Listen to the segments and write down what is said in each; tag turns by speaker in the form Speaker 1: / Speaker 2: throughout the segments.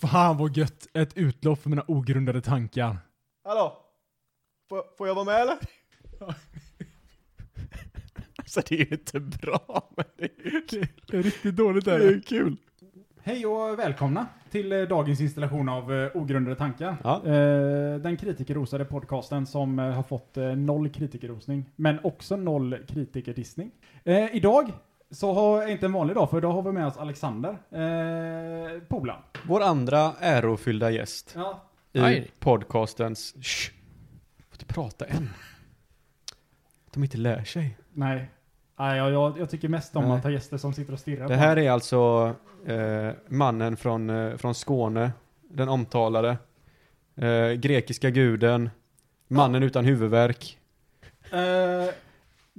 Speaker 1: Fan vad gött. Ett utlopp för mina ogrundade tankar.
Speaker 2: Hallå? Får, får jag vara med eller?
Speaker 3: Alltså det är ju inte bra, men det är ju kul.
Speaker 1: Det är riktigt dåligt
Speaker 3: Det är ju kul.
Speaker 1: Hej och välkomna till eh, dagens installation av eh, Ogrundade tankar.
Speaker 3: Ja.
Speaker 1: Eh, den kritikerrosade podcasten som eh, har fått eh, noll kritikerrosning, men också noll kritikerdissning. Eh, idag så har, är inte en vanlig dag, för idag har vi med oss Alexander eh, Polan.
Speaker 3: Vår andra ärofyllda gäst
Speaker 1: Ja.
Speaker 3: i
Speaker 4: Aj.
Speaker 3: podcastens... Shh. Får inte prata än. De inte lär sig.
Speaker 1: Nej. Nej, jag, jag, jag tycker mest om
Speaker 3: Nej.
Speaker 1: att ha gäster som sitter och stirrar
Speaker 3: Det
Speaker 1: på
Speaker 3: här är alltså eh, mannen från, eh, från Skåne, den omtalade, eh, grekiska guden, mannen utan huvudvärk.
Speaker 1: en. Eh, nej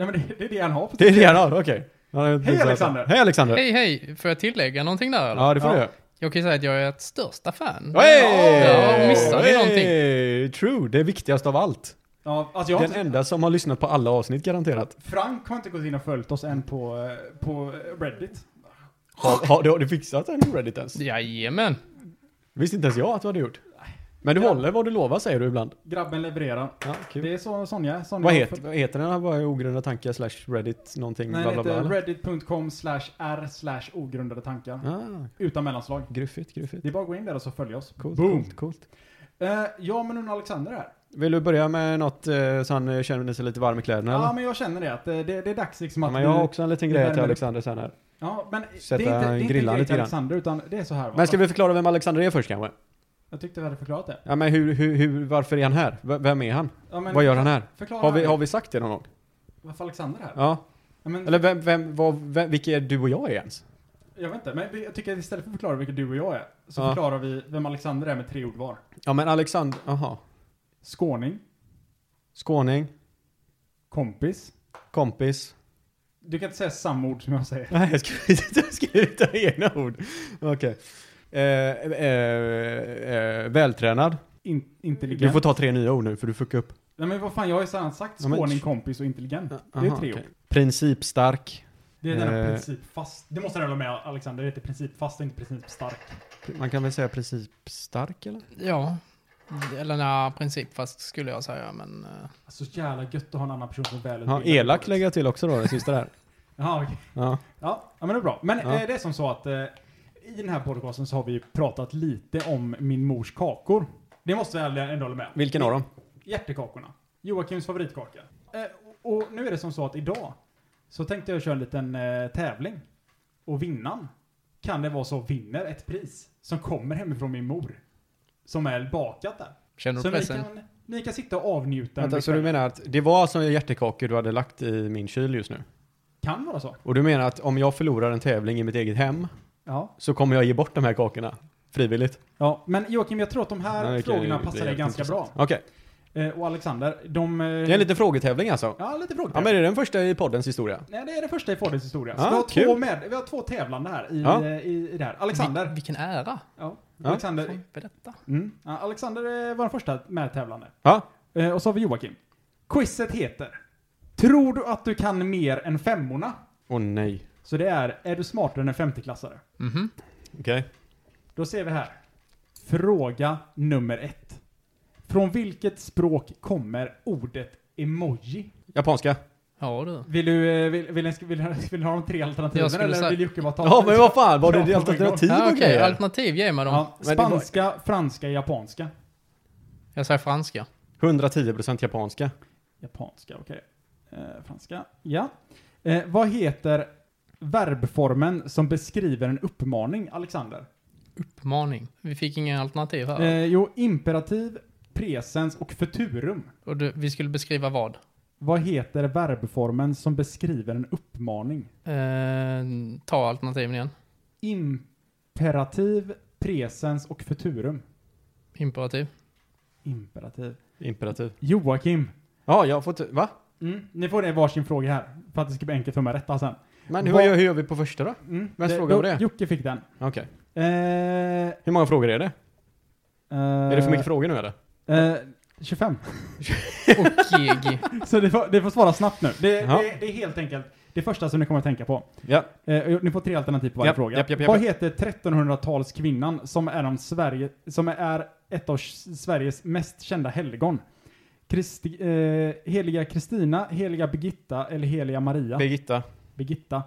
Speaker 1: men det, det är det han har på
Speaker 3: Det är
Speaker 1: sitt-
Speaker 3: det han har, okej. Han har-
Speaker 1: Hej, Alexander.
Speaker 3: Hej Alexander!
Speaker 4: Hej hej, får jag tillägga någonting där eller?
Speaker 3: Ja, det får
Speaker 1: Ja.
Speaker 3: du göra.
Speaker 4: Jag kan ju säga att jag är ett största fan.
Speaker 3: Hey!
Speaker 4: Ja, missar ni
Speaker 3: någonting? True, det är viktigast av allt.
Speaker 1: Ja, alltså jag har
Speaker 3: Den
Speaker 1: inte,
Speaker 3: enda som har lyssnat på alla avsnitt garanterat.
Speaker 1: Frank har inte gått in och följt oss än på, eh, på eh, Reddit.
Speaker 3: Har, har, du, har du fixat en i Reddit ens?
Speaker 4: Jajamän.
Speaker 3: Visste inte ens jag att du hade gjort. Men du
Speaker 1: Ja.
Speaker 3: håller vad du lovar säger du ibland.
Speaker 1: Grabben levererar.
Speaker 3: Ja, kul.
Speaker 1: Det är så, Sonja. Sonja
Speaker 3: Vad heter, vad heter den här bara ogrundade tankar slash reddit någonting
Speaker 1: Nej,
Speaker 3: bla
Speaker 1: det
Speaker 3: bla bla?
Speaker 1: heter
Speaker 3: eller?
Speaker 1: reddit.com slash r slash ogrundade tankar.
Speaker 3: Ah,
Speaker 1: Utan mellanslag.
Speaker 3: gruffigt, gruffigt.
Speaker 1: Det är bara att gå in där och så följa oss.
Speaker 3: Coolt,
Speaker 1: Boom.
Speaker 3: coolt, coolt.
Speaker 1: Eh, ja, men nu Alexander är här.
Speaker 3: Vill du börja med något eh, så han eh, känner sig lite varm i kläderna
Speaker 1: Ja,
Speaker 3: eller?
Speaker 1: men jag känner det att eh, det, det är dags liksom
Speaker 3: Ja,
Speaker 1: att
Speaker 3: men jag har
Speaker 1: vi-
Speaker 3: också en liten
Speaker 1: vi
Speaker 3: grej till
Speaker 1: värmer-
Speaker 3: Alexander sen här.
Speaker 1: Ja, men
Speaker 3: Sätta
Speaker 1: det är inte, det är inte
Speaker 3: grillan
Speaker 1: direkt
Speaker 3: lite grann.
Speaker 1: Alexander, utan det är så här. va?
Speaker 3: Men ska vi förklara vem Alexander är först kanske?
Speaker 1: Jag tyckte vi hade förklarat det.
Speaker 3: Ja men hur, hur, hur, varför är han här? V- vem är han?
Speaker 1: Ja, men
Speaker 3: Vad gör han här?
Speaker 1: Förklara
Speaker 3: Har vi, har vi sagt det någon gång?
Speaker 1: varför Alexander är här.
Speaker 3: Ja.
Speaker 1: Ja, men,
Speaker 3: Eller vem, vem, vad, vem, vilka är du och jag är ens?
Speaker 1: Jag vet inte, men vi- jag tycker att istället för att förklara vilka du och jag är, så
Speaker 3: Ja.
Speaker 1: förklarar vi vem Alexander är med tre ord var.
Speaker 3: Ja men Alexander, aha.
Speaker 1: Skåning,
Speaker 3: Skåning,
Speaker 1: kompis.
Speaker 3: kompis.
Speaker 1: Du kan inte säga samma ord som jag säger.
Speaker 3: Nej, jag skulle jag skulle ta egna ord. Okej. Eh, eh, eh, vältränad.
Speaker 1: In,
Speaker 3: Du
Speaker 1: intelligent.
Speaker 3: får ta tre nya ord nu för du fuckar upp.
Speaker 1: Nej men vad fan, jag har ju sedan sagt
Speaker 3: Ja, men-
Speaker 1: skåning, kompis och intelligent. det är
Speaker 3: Aha,
Speaker 1: tre
Speaker 3: okej.
Speaker 1: ord.
Speaker 3: Principstark.
Speaker 1: Det är den här
Speaker 3: Eh.
Speaker 1: principfast. Det måste jag hålla med Alexander, det heter principfast och inte principstark.
Speaker 3: Man kan väl säga principstark eller?
Speaker 4: Ja. Eller nja, princip fast skulle jag säga men... eh,
Speaker 1: Alltså så jävla gött att ha en annan person som är
Speaker 3: Ja,
Speaker 1: välutbildad.
Speaker 3: elak lägger jag till också då, det sista där.
Speaker 1: Jaha, okej.
Speaker 3: Ja.
Speaker 1: Ja, ja, men det är bra. Men
Speaker 3: Ja.
Speaker 1: eh, det är som så att eh, i den här podcasten så har vi ju pratat lite om min mors kakor. Det måste jag ändå hålla med om.
Speaker 3: Vilken av dem?
Speaker 1: Hjärtekakorna. Joakims favoritkaka. Eh, och och nu är det som så att idag så tänkte jag köra en liten eh, tävling. Och vinnaren kan det vara så vinner ett pris som kommer hemifrån min mor. Som är bakat där.
Speaker 4: Känner
Speaker 1: Så
Speaker 4: du
Speaker 1: ni
Speaker 4: pressen?
Speaker 1: kan, ni kan sitta och avnjuta.
Speaker 3: Vänta,
Speaker 1: en
Speaker 3: så du
Speaker 1: kväll.
Speaker 3: menar att det var alltså hjärtekakor du hade lagt i min kyl just nu?
Speaker 1: Kan vara så.
Speaker 3: Och du menar att om jag förlorar en tävling i mitt eget hem
Speaker 1: Ja.
Speaker 3: så kommer jag ge bort de här kakorna frivilligt?
Speaker 1: ja. Men Joakim, jag tror att de här
Speaker 3: Nej, det kan-
Speaker 1: frågorna
Speaker 3: det
Speaker 1: passar
Speaker 3: är
Speaker 1: dig ganska
Speaker 3: intressant.
Speaker 1: bra.
Speaker 3: Okej,
Speaker 1: Eh, och Alexander, de... eh,
Speaker 3: det är en liten frågetävling alltså.
Speaker 1: Ja, lite frågor.
Speaker 3: Ja men det är den första i poddens historia.
Speaker 1: Nej, det är det första i Fordens historia. Så
Speaker 3: Ja,
Speaker 1: vi, har två
Speaker 3: kul.
Speaker 1: med, vi har två tävlande här i,
Speaker 3: Ja.
Speaker 1: eh, i, i det här.
Speaker 4: Vil-
Speaker 1: Alexander.
Speaker 4: vilken ära.
Speaker 1: Ja.
Speaker 3: Ja.
Speaker 1: Alexander,
Speaker 4: Fan, Berätta.
Speaker 1: Mm. Ja, Alexander eh, var den första medtävlande.
Speaker 3: Ja,
Speaker 1: Eh, och så har vi Joakim. Quizet heter Tror du att du kan mer än femmorna?
Speaker 3: åh nej.
Speaker 1: Så det är Är du smartare än en femteklassare?
Speaker 4: Mhm.
Speaker 3: Okej.
Speaker 1: Då ser vi här. Fråga nummer ett. Från vilket språk kommer ordet emoji?
Speaker 3: Japanska.
Speaker 4: Ja du.
Speaker 1: Vill du, eh, vill, vill, vill, vill, vill du ha de tre alternativen
Speaker 4: Jag skulle
Speaker 1: eller
Speaker 4: säga-
Speaker 1: vill Jocke bara ta
Speaker 3: Ja men vad fan, var det
Speaker 1: Ja,
Speaker 3: ditt alternativ
Speaker 4: Ja,
Speaker 3: och
Speaker 4: Okej,
Speaker 3: grejer?
Speaker 4: alternativ ge mig dem.
Speaker 1: Ja,
Speaker 3: Men det var-
Speaker 1: spanska, franska, japanska.
Speaker 4: Jag säger franska.
Speaker 3: 110% japanska.
Speaker 1: Japanska, okej. Eh, franska, ja. Eh, vad heter verbformen som beskriver en uppmaning, Alexander?
Speaker 4: Uppmaning. Vi fick inga alternativ här.
Speaker 1: Eh, jo, imperativ, presens och futurum.
Speaker 4: Och du, vi skulle beskriva vad?
Speaker 1: Vad heter verbformen som beskriver en uppmaning?
Speaker 4: Eh, ta alternativen igen.
Speaker 1: Imperativ, presens och futurum.
Speaker 4: Imperativ.
Speaker 1: Imperativ.
Speaker 3: Imperativ.
Speaker 1: Joakim.
Speaker 3: Ja, jag har fått, va?
Speaker 1: Mm. Ni får det varsin fråga här, för att det ska bli enkelt för mig att rätta sen.
Speaker 3: Men hur,
Speaker 1: Vad-
Speaker 3: gör, hur gör vi på första då?
Speaker 1: Mm.
Speaker 3: Vems fråga var det?
Speaker 1: Jocke fick den.
Speaker 3: Okej.
Speaker 1: Eh,
Speaker 3: Hur många frågor är det? Är det för mycket frågor nu eller?
Speaker 1: Eh, 25.
Speaker 4: Och gig.
Speaker 1: Så det får, det får svara snabbt nu. Det,
Speaker 3: Ja.
Speaker 1: det, det är helt enkelt. Det första som ni kommer att tänka på.
Speaker 3: Ja.
Speaker 1: Eh, ni får tre alternativ på varje
Speaker 3: Japp,
Speaker 1: fråga.
Speaker 3: japp, japp, japp.
Speaker 1: Vad heter 1300-talskvinnan som är, om Sverige, som är ett av S- Sveriges mest kända helgon? Kristi, eh, heliga Kristina, heliga Birgitta eller heliga Maria?
Speaker 3: Birgitta.
Speaker 1: Birgitta.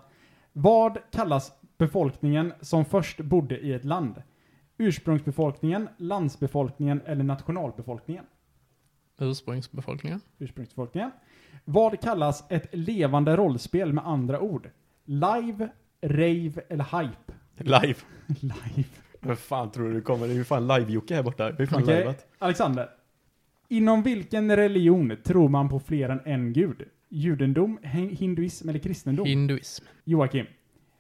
Speaker 1: Vad kallas befolkningen som först bodde i ett land? Ursprungsbefolkningen, landsbefolkningen eller nationalbefolkningen?
Speaker 4: Ursprungsbefolkningen.
Speaker 1: Ursprungsbefolkningen. Vad kallas ett levande rollspel med andra ord? Live, rave eller hype?
Speaker 3: Live.
Speaker 1: Live.
Speaker 3: Vad fan tror du det kommer? Det är ju fan live-Jocke här borta. Det är fan
Speaker 1: Okej,
Speaker 3: liveat.
Speaker 1: Alexander. Inom vilken religion tror man på fler än en gud? Judendom, hin- hinduism eller kristendom?
Speaker 4: Hinduism.
Speaker 1: Joakim.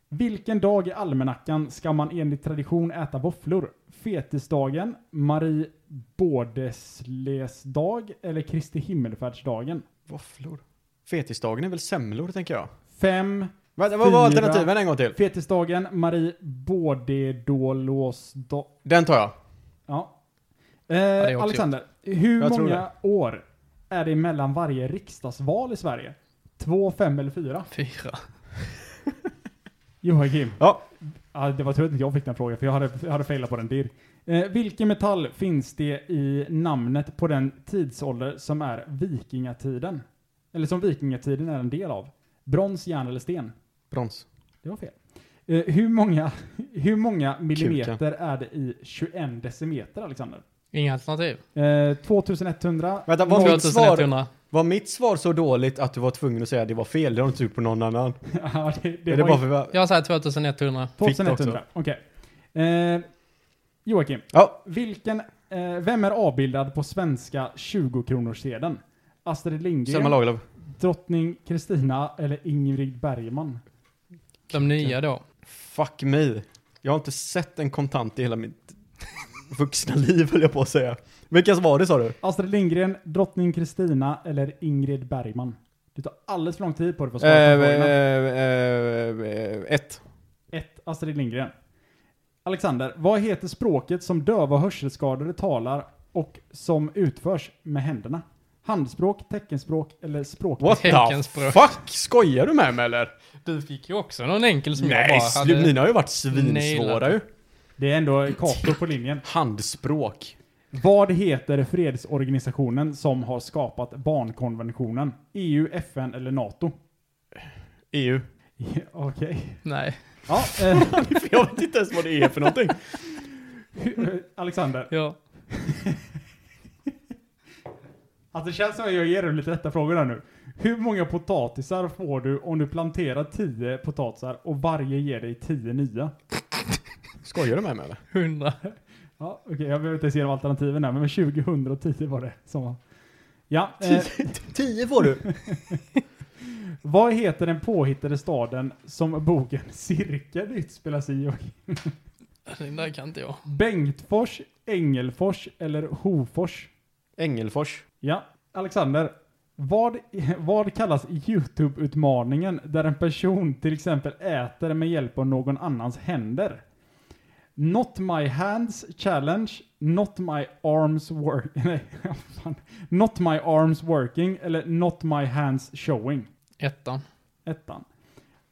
Speaker 1: Vilken dag i almanackan ska man enligt tradition äta våfflor? Fetisdagen, Marie Bådeslers dag eller Kristi himmelfärdsdagen?
Speaker 3: Våfflor. Fetisdagen är väl semlor, tänker jag.
Speaker 1: Fem.
Speaker 3: Vänta, vad var
Speaker 1: Fyra.
Speaker 3: alternativen en gång till?
Speaker 1: Fetisdagen, Marie Bådedolåsdag.
Speaker 3: Den tar jag.
Speaker 1: Ja.
Speaker 4: det är
Speaker 1: Eh,
Speaker 4: också
Speaker 1: Alexander, hur
Speaker 3: Jag tror
Speaker 1: många år är det mellan varje riksdagsval i Sverige? Två, fem eller fyra?
Speaker 4: Fyra.
Speaker 1: Joakim.
Speaker 3: Ja.
Speaker 1: Ja, det var tur att inte jag fick den frågan, för jag hade, jag hade failat på den dirr. Eh, vilken metall finns det i namnet på den tidsålder som är vikingatiden? Eller som vikingatiden är en del av? Brons, järn eller sten?
Speaker 3: Brons.
Speaker 1: Det var fel. Eh, hur, många, hur många millimeter är det i 21 decimeter, Alexander?
Speaker 4: Inga alternativ.
Speaker 1: Eh, 2100.
Speaker 3: Vänta, vad mitt svar,
Speaker 4: 2100.
Speaker 3: var mitt svar så dåligt att du var tvungen att säga att det var fel? Det har du inte gjort på någon annan.
Speaker 1: ja, det, det
Speaker 3: är det
Speaker 1: var
Speaker 3: bara för...
Speaker 4: Jag säger 2100.
Speaker 3: Fick det
Speaker 1: 2100. Okej. Eh, Joakim,
Speaker 3: Ja.
Speaker 1: vilken, eh, vem är avbildad på svenska 20-kronorssedeln? Astrid
Speaker 3: Selma
Speaker 1: Lindgren,
Speaker 3: Lagerlöf.
Speaker 1: drottning Kristina eller Ingrid Bergman?
Speaker 4: De nya då.
Speaker 3: Fuck me. Jag har inte sett en kontant i hela mitt vuxna liv, höll jag på att säga. Vilka var det, sa du?
Speaker 1: Astrid Lindgren, drottning Kristina eller Ingrid Bergman? Du tar alldeles för lång tid på dig för att
Speaker 3: Eh,
Speaker 1: svara på
Speaker 3: eh,
Speaker 1: frågorna.
Speaker 3: eh, eh, ett.
Speaker 1: Ett, Astrid Lindgren. Alexander, vad heter språket som döva och hörselskadade talar och som utförs med händerna? Handspråk, teckenspråk eller språk?
Speaker 3: What the
Speaker 4: Teckenspråk.
Speaker 3: fuck? Skojar du med mig eller?
Speaker 4: Du fick ju också någon enkel som jag
Speaker 3: Nej,
Speaker 4: bara
Speaker 3: slu-
Speaker 4: hade.
Speaker 3: mina har ju varit svinsvåra
Speaker 4: nailat.
Speaker 3: ju.
Speaker 1: Det är ändå kartor på linjen.
Speaker 3: Handspråk.
Speaker 1: Vad heter fredsorganisationen som har skapat barnkonventionen? E EU, FN eller NATO?
Speaker 3: EU.
Speaker 1: Ja, Okej.
Speaker 4: Nej,
Speaker 1: Ja, eh,
Speaker 3: jag vet inte ens vad det är för någonting.
Speaker 1: hur- Alexander.
Speaker 4: ja.
Speaker 1: Alltså det känns som att jag ger dig lite rätta frågor här nu. Hur många potatisar får du om du planterar 10 potatisar och varje ger dig 10 nya?
Speaker 3: Skojar du med mig eller?
Speaker 4: 100.
Speaker 1: Ja, okej, jag behöver inte se de alternativen här, men 2010 var det som var. Ja, eh,
Speaker 3: Tio får du.
Speaker 1: vad heter den påhittade staden som boken Cirkeln utspelas i och
Speaker 4: Den där kan inte jag.
Speaker 1: Bengtfors, Ängelfors eller Hofors?
Speaker 3: Ängelfors.
Speaker 1: Ja, Alexander. Vad, vad kallas YouTube-utmaningen där en person till exempel äter med hjälp av någon annans händer? Not my hands challenge, not my arms work... Nej, vad fan. Not my arms working eller not my hands showing.
Speaker 4: Ettan.
Speaker 1: Ettan.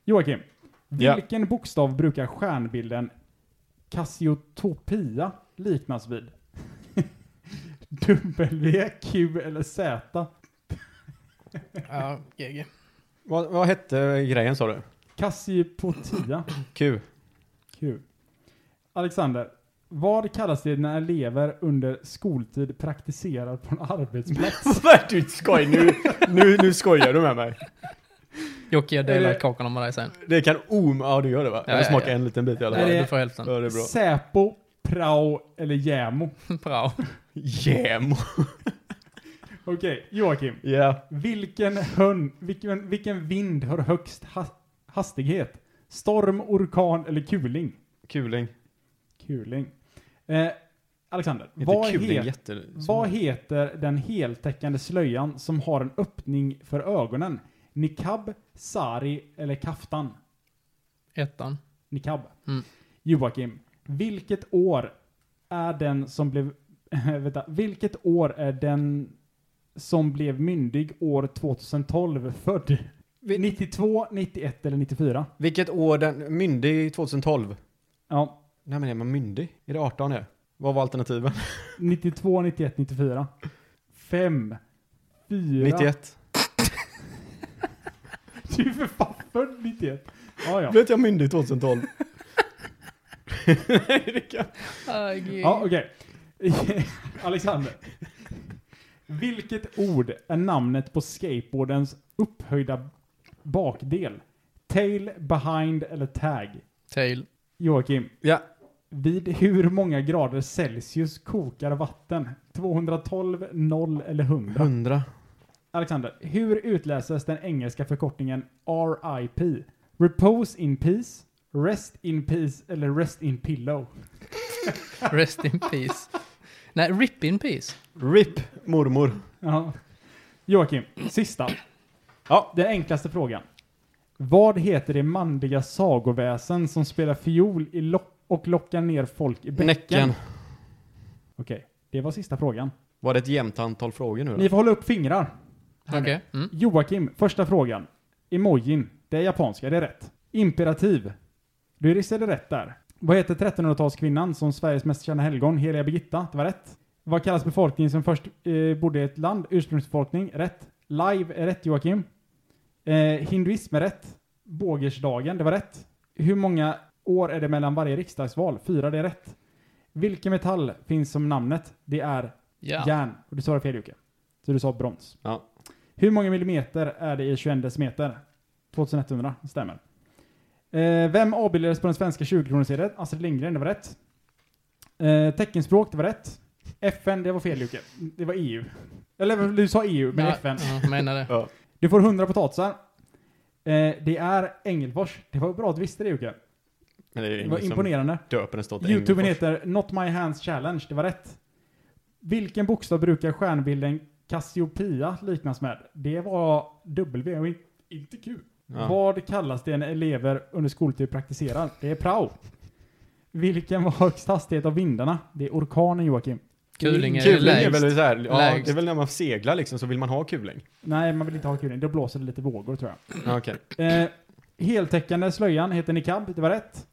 Speaker 1: Joakim.
Speaker 3: Ja.
Speaker 1: Vilken bokstav brukar stjärnbilden Cassiotopia liknas vid? W, Q eller Z?
Speaker 4: Ja, GG.
Speaker 3: Vad, vad hette grejen sa du?
Speaker 1: Cassiopeia.
Speaker 3: Q.
Speaker 1: Q. Alexander. Vad kallas det när elever under skoltid praktiserar på en arbetsplats?
Speaker 3: Svär du inte skoj nu. nu. Nu skojar du med mig.
Speaker 4: Jocke, jag delar
Speaker 3: Är det-
Speaker 4: kakorna med dig sen.
Speaker 3: Det kan om... Ja du gör det va?
Speaker 4: Ja,
Speaker 3: jag
Speaker 4: ja,
Speaker 3: smakar
Speaker 4: ja.
Speaker 3: en liten bit i alla
Speaker 1: Är
Speaker 3: fall.
Speaker 1: det-
Speaker 4: Du får hälften.
Speaker 3: Ja, det är bra.
Speaker 1: Säpo, prao eller JämO?
Speaker 4: Bra.
Speaker 3: Jämo.
Speaker 1: Okej, Joakim.
Speaker 3: Ja.
Speaker 1: Vilken, hön, vilken, vilken vind har högst has, hastighet? Storm, orkan eller kuling?
Speaker 3: Kuling.
Speaker 1: Kuling. Eh, Alexander,
Speaker 3: Inte
Speaker 1: vad,
Speaker 3: kuling
Speaker 1: het,
Speaker 3: jätte...
Speaker 1: vad heter den heltäckande slöjan som har en öppning för ögonen? Nikab, sari eller kaftan?
Speaker 4: Ettan.
Speaker 1: Nikab.
Speaker 4: Mm.
Speaker 1: Joakim, vilket år är den som blev... vänta, vilket år är den som blev myndig år 2012 född?
Speaker 3: Vi-
Speaker 1: 92, 91 eller 94.
Speaker 3: Vilket år den, myndig 2012.
Speaker 1: Ja,
Speaker 3: Nej men är man myndig? Är det 18 det? Vad var alternativen?
Speaker 1: 92, 91, 94. 5, 4.
Speaker 3: 91.
Speaker 1: Du är för fan född 91. Ja, ja.
Speaker 3: Blev jag myndig 2012?
Speaker 1: Ja, okej. Alexander. Vilket ord är namnet på skateboardens upphöjda bakdel? Tail, behind eller tag?
Speaker 4: Tail.
Speaker 1: Joakim.
Speaker 3: Ja.
Speaker 1: Vid hur många grader Celsius kokar vatten? 212, 0 eller 100?
Speaker 3: 100.
Speaker 1: Alexander, hur utläses den engelska förkortningen RIP? Repose in peace, rest in peace eller rest in pillow?
Speaker 4: Rest in peace. Nej, rip in peace.
Speaker 3: RIP mormor.
Speaker 1: Ja. Joakim, sista.
Speaker 3: Ja.
Speaker 1: Den enklaste frågan. Vad heter det manliga sagoväsen som spelar fiol i lock och lockar ner folk i bäcken?
Speaker 3: Näcken.
Speaker 1: Okej, det var sista frågan.
Speaker 3: Var det ett jämnt antal frågor nu då?
Speaker 1: Ni får hålla upp fingrar.
Speaker 4: Okej. Mm.
Speaker 1: Joakim, första frågan. Emojin, det är japanska, det är rätt. Imperativ. Du riskerade rätt där. Vad heter 1300-talskvinnan som Sveriges mest kända helgon, Heliga Birgitta? Det var rätt. Vad kallas befolkningen som först eh, bodde i ett land? Ursprungsbefolkning, rätt. Live är rätt Joakim. Eh, hinduism är rätt. Bågersdagen, det var rätt. Hur många år är det mellan varje riksdagsval? Fyra, det är rätt. Vilken metall finns som namnet? Det är
Speaker 4: Ja.
Speaker 1: järn. Och du sa det fel Jocke. Så du sa brons.
Speaker 3: Ja.
Speaker 1: Hur många millimeter är det i 21 decimeter? 2100, stämmer. Eh, vem avbildades på den svenska 20-kronorsserien? Astrid Lindgren, det var rätt. Eh, teckenspråk, det var rätt. FN, det var fel Jocke. Det var EU. Eller du sa EU, men
Speaker 4: Ja,
Speaker 1: FN.
Speaker 4: Ja, menar det.
Speaker 1: Du får 100 potatisar. Eh, det är Engelfors. Det var bra att du visste det Jocke.
Speaker 3: Men det är ju
Speaker 1: Det
Speaker 3: ingen
Speaker 1: var
Speaker 3: som
Speaker 1: imponerande.
Speaker 3: Döper en stått
Speaker 1: Youtuben heter Not My Hands Challenge, det var rätt. Vilken bokstav brukar stjärnbilden Cassiopeia liknas med? Det var W och in- inte Q.
Speaker 3: Ja.
Speaker 1: Vad kallas det när elever under skoltid praktiserar? Det är prao. Vilken var högst hastighet av vindarna? Det är orkanen Joakim.
Speaker 4: Kuling är
Speaker 3: Kuling är
Speaker 4: lägst.
Speaker 3: väl så här, ja,
Speaker 4: Lägst.
Speaker 3: det är väl när man seglar liksom så vill man ha kuling.
Speaker 1: Nej, man vill inte ha kuling. Då blåser det lite vågor tror jag.
Speaker 3: Ja, okej.
Speaker 1: Eh, heltäckande slöjan heter niqab, det var rätt.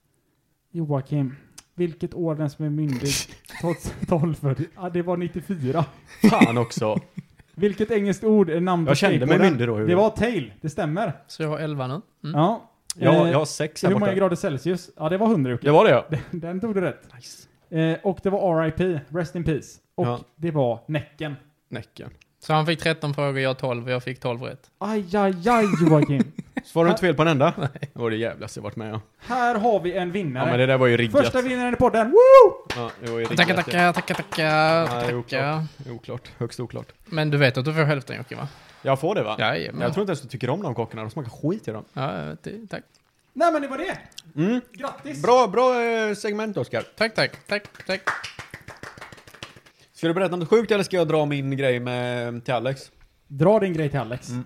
Speaker 1: Joakim, vilket år den som är myndig 2012 född? Ja, det var 94.
Speaker 3: Fan också.
Speaker 1: Vilket engelskt ord är namn på
Speaker 3: Jag kände mig
Speaker 1: skateboarden?
Speaker 3: myndig då. hur-
Speaker 1: Det var tail, det stämmer.
Speaker 4: Så jag har 11 nu. Mm.
Speaker 1: Ja.
Speaker 3: Ja,
Speaker 1: Eh,
Speaker 3: jag har sex här
Speaker 1: Hur många
Speaker 3: borta.
Speaker 1: grader Celsius? Ja, det var 100 Jocke.
Speaker 3: Det var det ja.
Speaker 1: Den tog du rätt. Eh, och det var RIP, Rest in Peace. Och
Speaker 3: Ja.
Speaker 1: det var Näcken.
Speaker 3: Näcken.
Speaker 4: Så han fick 13 frågor, jag 12 och jag fick 12 rätt.
Speaker 1: Aj, aj, aj Joakim.
Speaker 3: Svarade du inte fel på en enda? Nej. Det var det jävligaste jag varit med om.
Speaker 1: Här har vi en
Speaker 3: Ja
Speaker 1: vinnare.
Speaker 3: men det där var ju riggat.
Speaker 1: Första vinnaren i podden. Woo!
Speaker 3: Ja, det var ju riggat.
Speaker 4: Tackar, tackar,
Speaker 3: Nej,
Speaker 4: tackar,
Speaker 3: det är
Speaker 4: tackar.
Speaker 3: oklart.
Speaker 4: tackar.
Speaker 3: Oklart. Högst oklart.
Speaker 4: Men du vet att du får hälften Jocke va?
Speaker 3: Jag får det va?
Speaker 4: Jajamän.
Speaker 3: Jag tror inte ens du tycker om de kockarna. De smakar skit i dem.
Speaker 4: Ja, jag vet det. tack.
Speaker 1: Nej men det var det.
Speaker 3: Mm.
Speaker 1: Grattis.
Speaker 3: Bra, bra eh, segment Oskar.
Speaker 4: Tack, tack, tack, tack.
Speaker 3: Ska du berätta något sjukt eller ska jag dra min grej med, till Alex?
Speaker 1: Dra din grej till Alex.
Speaker 3: Mm.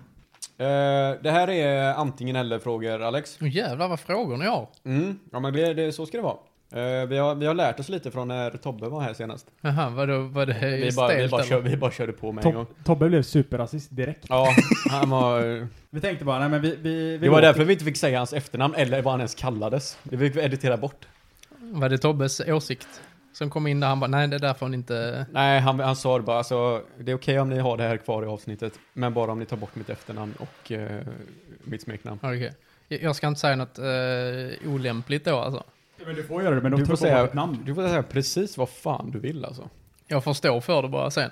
Speaker 3: Eh, det här är antingen eller frågor Alex.
Speaker 4: Åh jävlar vad frågor ni har.
Speaker 3: Mm. Ja men det, det, så ska det vara. Eh, vi, har, vi har lärt oss lite från när Tobbe var här senast.
Speaker 4: Jaha, vadå, var det
Speaker 3: Vi
Speaker 4: stelt
Speaker 3: bara, vi, bara
Speaker 4: eller?
Speaker 3: kör, vi bara körde på med en gång.
Speaker 1: Tob- Tobbe blev superrasist direkt.
Speaker 3: Ja, han var...
Speaker 1: Vi tänkte bara, nej men vi... vi, vi
Speaker 3: Det var
Speaker 1: låter-
Speaker 3: därför vi inte fick säga hans efternamn eller vad han ens kallades. Det fick vi editera bort.
Speaker 4: Var det Tobbes åsikt som kom in där han bara, nej det där får ni inte...
Speaker 3: Nej, han, han sa det bara alltså, det är okej om ni har det här kvar i avsnittet, men bara om ni tar bort mitt efternamn och eh, mitt smeknamn.
Speaker 4: Ja, Okej. Jag jag ska inte säga något eh, olämpligt då alltså.
Speaker 1: Men du får göra det, men då
Speaker 3: Du
Speaker 1: tar
Speaker 3: får,
Speaker 1: jag bort
Speaker 3: säga,
Speaker 1: ditt namn.
Speaker 3: du får säga precis vad fan du vill alltså.
Speaker 4: Jag får stå för det bara sen.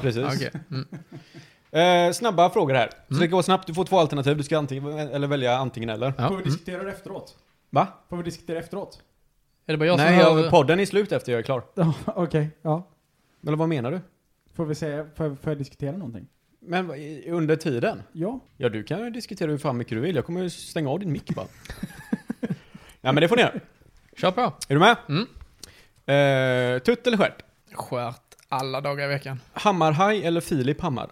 Speaker 3: Precis.
Speaker 4: Okej. Mm.
Speaker 3: Eh, snabba frågor här. Så
Speaker 4: Mm.
Speaker 3: det går snabbt, du får två alternativ, du ska antingen, eller välja antingen eller.
Speaker 4: Ja.
Speaker 1: Får vi
Speaker 4: Mm.
Speaker 1: diskutera det efteråt?
Speaker 3: Va?
Speaker 1: Får vi diskutera efteråt?
Speaker 4: Är det bara jag
Speaker 3: Nej,
Speaker 4: som hör...
Speaker 3: jag, podden är slut efter jag är klar.
Speaker 1: Ja, okej. Ja.
Speaker 3: Eller vad menar du?
Speaker 1: Får vi säga, får, får jag diskutera någonting?
Speaker 3: Men vad- i- under tiden?
Speaker 1: Ja.
Speaker 3: Ja, du kan ju diskutera hur fan mycket du vill. Jag kommer ju stänga av din mick bara. Nej, men det får ni göra.
Speaker 4: Kör på.
Speaker 3: Är du med?
Speaker 4: Mm.
Speaker 3: Eh, tutt eller stjärt?
Speaker 4: Skärt alla dagar i veckan.
Speaker 3: Hammarhaj eller Filip Hammar?